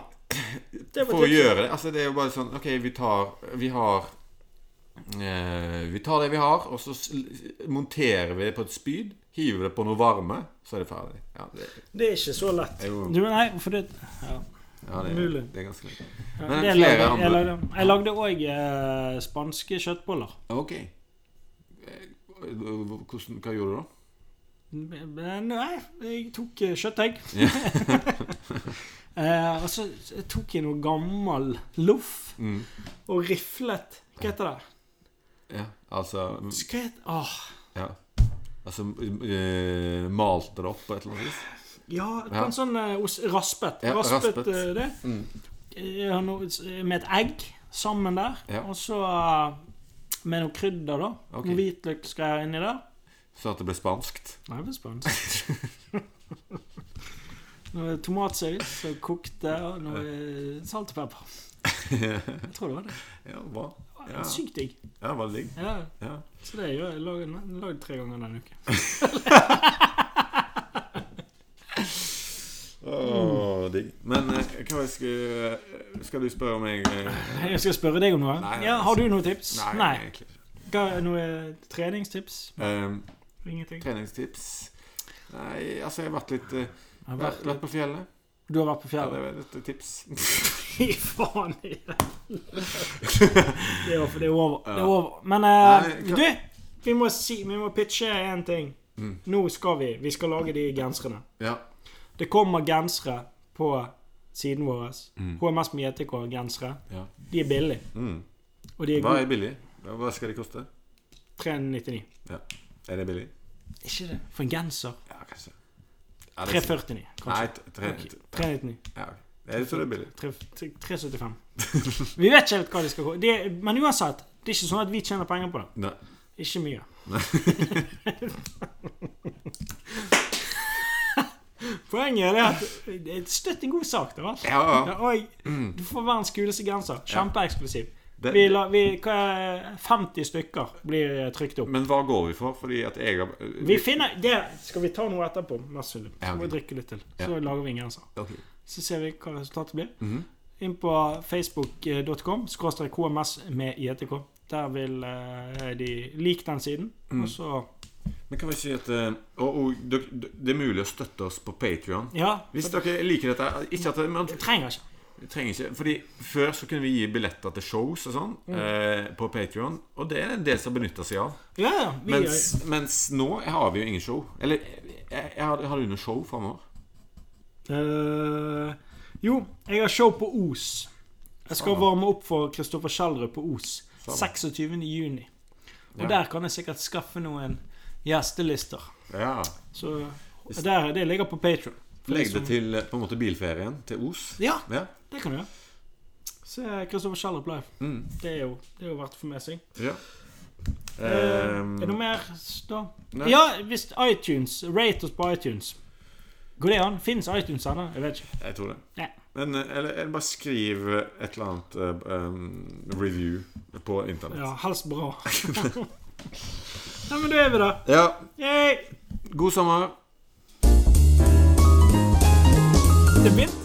[SPEAKER 1] Det
[SPEAKER 2] For å gjøre det Altså, det er jo bare sånn OK, vi tar Vi har eh, Vi tar det vi har, og så s- monterer vi det på et spyd. Hiver det på noe varme, så er det ferdig. Ja, det,
[SPEAKER 1] Det er ikke så lett.
[SPEAKER 2] Jo.
[SPEAKER 1] Du, nei, for det ja.
[SPEAKER 2] Ja, det, er,
[SPEAKER 1] Mulig.
[SPEAKER 2] det er ganske lenge.
[SPEAKER 1] Ja,
[SPEAKER 2] Men
[SPEAKER 1] det
[SPEAKER 2] flere
[SPEAKER 1] lagde- jeg
[SPEAKER 2] andre.
[SPEAKER 1] lagde- Jeg lagde òg eh, spanske kjøttboller.
[SPEAKER 2] Ok. Eh, Hvordan, hva gjorde du da?
[SPEAKER 1] Men nei, jeg tok eh, kjøttdeig.
[SPEAKER 2] Ja.
[SPEAKER 1] eh, og så tok jeg noe gammel loff
[SPEAKER 2] Mm.
[SPEAKER 1] og riflet. Hva heter det?
[SPEAKER 2] Ja, altså
[SPEAKER 1] Hva ah, heter, åh,
[SPEAKER 2] ja. Altså eh, malte det opp på et eller annet vis?
[SPEAKER 1] ja, på
[SPEAKER 2] Ja.
[SPEAKER 1] en sånn eh, os- raspet.
[SPEAKER 2] Ja,
[SPEAKER 1] raspet
[SPEAKER 2] raspet. Mm.
[SPEAKER 1] eh, det. Eh, noe, s- med et egg sammen der.
[SPEAKER 2] Ja.
[SPEAKER 1] Og så eh, med noe krydder, da.
[SPEAKER 2] Ok.
[SPEAKER 1] Noe hvitløk skal jeg inni der.
[SPEAKER 2] Så at det ble spanskt?
[SPEAKER 1] Nei, det er spansk. Noe tomatsaus og kokte, og noe salt og pepper.
[SPEAKER 2] ja,
[SPEAKER 1] Jeg tror det var det.
[SPEAKER 2] bra.
[SPEAKER 1] det
[SPEAKER 2] Ja,
[SPEAKER 1] var Sykt digg.
[SPEAKER 2] ja veldig digg.
[SPEAKER 1] Ja,
[SPEAKER 2] Ja.
[SPEAKER 1] så det gjør jeg. jeg. Lagde jeg lagde tre ganger denne uken.
[SPEAKER 2] Åh, digg. Men eh, hva jeg skal, skal du spørre om jeg eh,
[SPEAKER 1] Jeg skal spørre deg om noe.
[SPEAKER 2] Nei, nei,
[SPEAKER 1] ja, har du noen tips?
[SPEAKER 2] Nei, egentlig ikke.
[SPEAKER 1] Hva, noe treningstips?
[SPEAKER 2] Ehm,
[SPEAKER 1] Ingenting.
[SPEAKER 2] treningstips? Nei, altså, jeg har vært litt eh,
[SPEAKER 1] Jeg har
[SPEAKER 2] vært,
[SPEAKER 1] vært-
[SPEAKER 2] på fjellet.
[SPEAKER 1] Du har vært på
[SPEAKER 2] Ja, det
[SPEAKER 1] fjellet?
[SPEAKER 2] er et tips.
[SPEAKER 1] Fy faen i helvete. Det er over. Det er over. Det er over. Men eh,
[SPEAKER 2] Nei, hva-
[SPEAKER 1] du, vi må, si, vi må pitche én ting.
[SPEAKER 2] Mm.
[SPEAKER 1] Nå skal vi. Vi skal lage de genserne.
[SPEAKER 2] Ja.
[SPEAKER 1] Det kommer gensere på siden vår. HMS med JTK-gensere.
[SPEAKER 2] Mm. ja.
[SPEAKER 1] De er billige.
[SPEAKER 2] Mm.
[SPEAKER 1] Og de er
[SPEAKER 2] Hva
[SPEAKER 1] gode.
[SPEAKER 2] er billig? Hva hva skal det koste?
[SPEAKER 1] 399.
[SPEAKER 2] Ja. Er det billig?
[SPEAKER 1] Ikke det. For en genser.
[SPEAKER 2] Ja, kanskje. Er det
[SPEAKER 1] 349,
[SPEAKER 2] Nei,
[SPEAKER 1] kanskje.
[SPEAKER 2] t- tre,
[SPEAKER 1] Ok,
[SPEAKER 2] t- tre,
[SPEAKER 1] 399.
[SPEAKER 2] ja. Jeg tror det er sånn- billig.
[SPEAKER 1] Tre- tre- 375. Vi vet ikke helt hva de skal gå. Det, men uansett, det er ikke sånn at vi tjener penger på det.
[SPEAKER 2] Nei.
[SPEAKER 1] Ikke mye. Poenget er det at det er støtt en god sak. Det, vel?
[SPEAKER 2] Ja, ja. Mm.
[SPEAKER 1] Ja, og du får verdens kuleste genser. Kjempeeksklusiv.
[SPEAKER 2] Det-
[SPEAKER 1] Vi la, vi, hva er, 50 stykker blir eh, trykt opp.
[SPEAKER 2] Men hva går vi for? Fordi at jeg har
[SPEAKER 1] Vi finner, det skal vi ta noe etterpå. Mest sannsynlig.
[SPEAKER 2] Ja,
[SPEAKER 1] Så må
[SPEAKER 2] ok.
[SPEAKER 1] vi drikke litt til.
[SPEAKER 2] Ja.
[SPEAKER 1] Så lager vi en genser.
[SPEAKER 2] Ok.
[SPEAKER 1] Så ser vi hva resultatet blir.
[SPEAKER 2] Mhm.
[SPEAKER 1] Inn på facebook.com skråstrek HMS med IETK. Der vil eh, de like den siden.
[SPEAKER 2] Mhm.
[SPEAKER 1] Og så
[SPEAKER 2] Men kan vi si at eh, og, og, dere- dere- Det er mulig å støtte oss på Patrion.
[SPEAKER 1] Ja.
[SPEAKER 2] Hvis dere liker dette Ikke at det- man
[SPEAKER 1] Det trenger ikke.
[SPEAKER 2] trenger ikke Fordi Før så kunne vi gi billetter til shows og sånn
[SPEAKER 1] Mm.
[SPEAKER 2] eh, på Patrion, og det er en del som benytter seg av.
[SPEAKER 1] Ja, ja. Vi,
[SPEAKER 2] Mens, mens nå har vi jo ingen show. Eller jeg, jeg har, har du noe show framover?
[SPEAKER 1] Eh, jo, jeg har show på Os. Jeg skal varme opp for Kristoffer Schjelderud på Os 26. juni. Og
[SPEAKER 2] Ja.
[SPEAKER 1] der kan jeg sikkert skaffe noen gjestelister.
[SPEAKER 2] Ja.
[SPEAKER 1] Så der, det ligger på Patron.
[SPEAKER 2] Legg det til eh, på en måte bilferien til Os.
[SPEAKER 1] Ja,
[SPEAKER 2] Ja.
[SPEAKER 1] det kan du gjøre. Se Kristoffer Schjelderup live. Det, er jo, det er jo verdt å få med seg.
[SPEAKER 2] Mm. ja.
[SPEAKER 1] Eh,
[SPEAKER 2] Ehm,
[SPEAKER 1] er det noe mer da?
[SPEAKER 2] Nei.
[SPEAKER 1] Ja, hvis iTunes Rate oss på iTunes. Går det an? Fins iTunes ennå? Jeg vet ikke.
[SPEAKER 2] Eh, Jeg tror det.
[SPEAKER 1] Nei.
[SPEAKER 2] Men eh, eller, eller bare skriv et eller annet eh, um, review på internett.
[SPEAKER 1] Ja, helst bra. Nei, men da er vi der.
[SPEAKER 2] Ja,
[SPEAKER 1] Yay!
[SPEAKER 2] god sommer.
[SPEAKER 1] Det begynte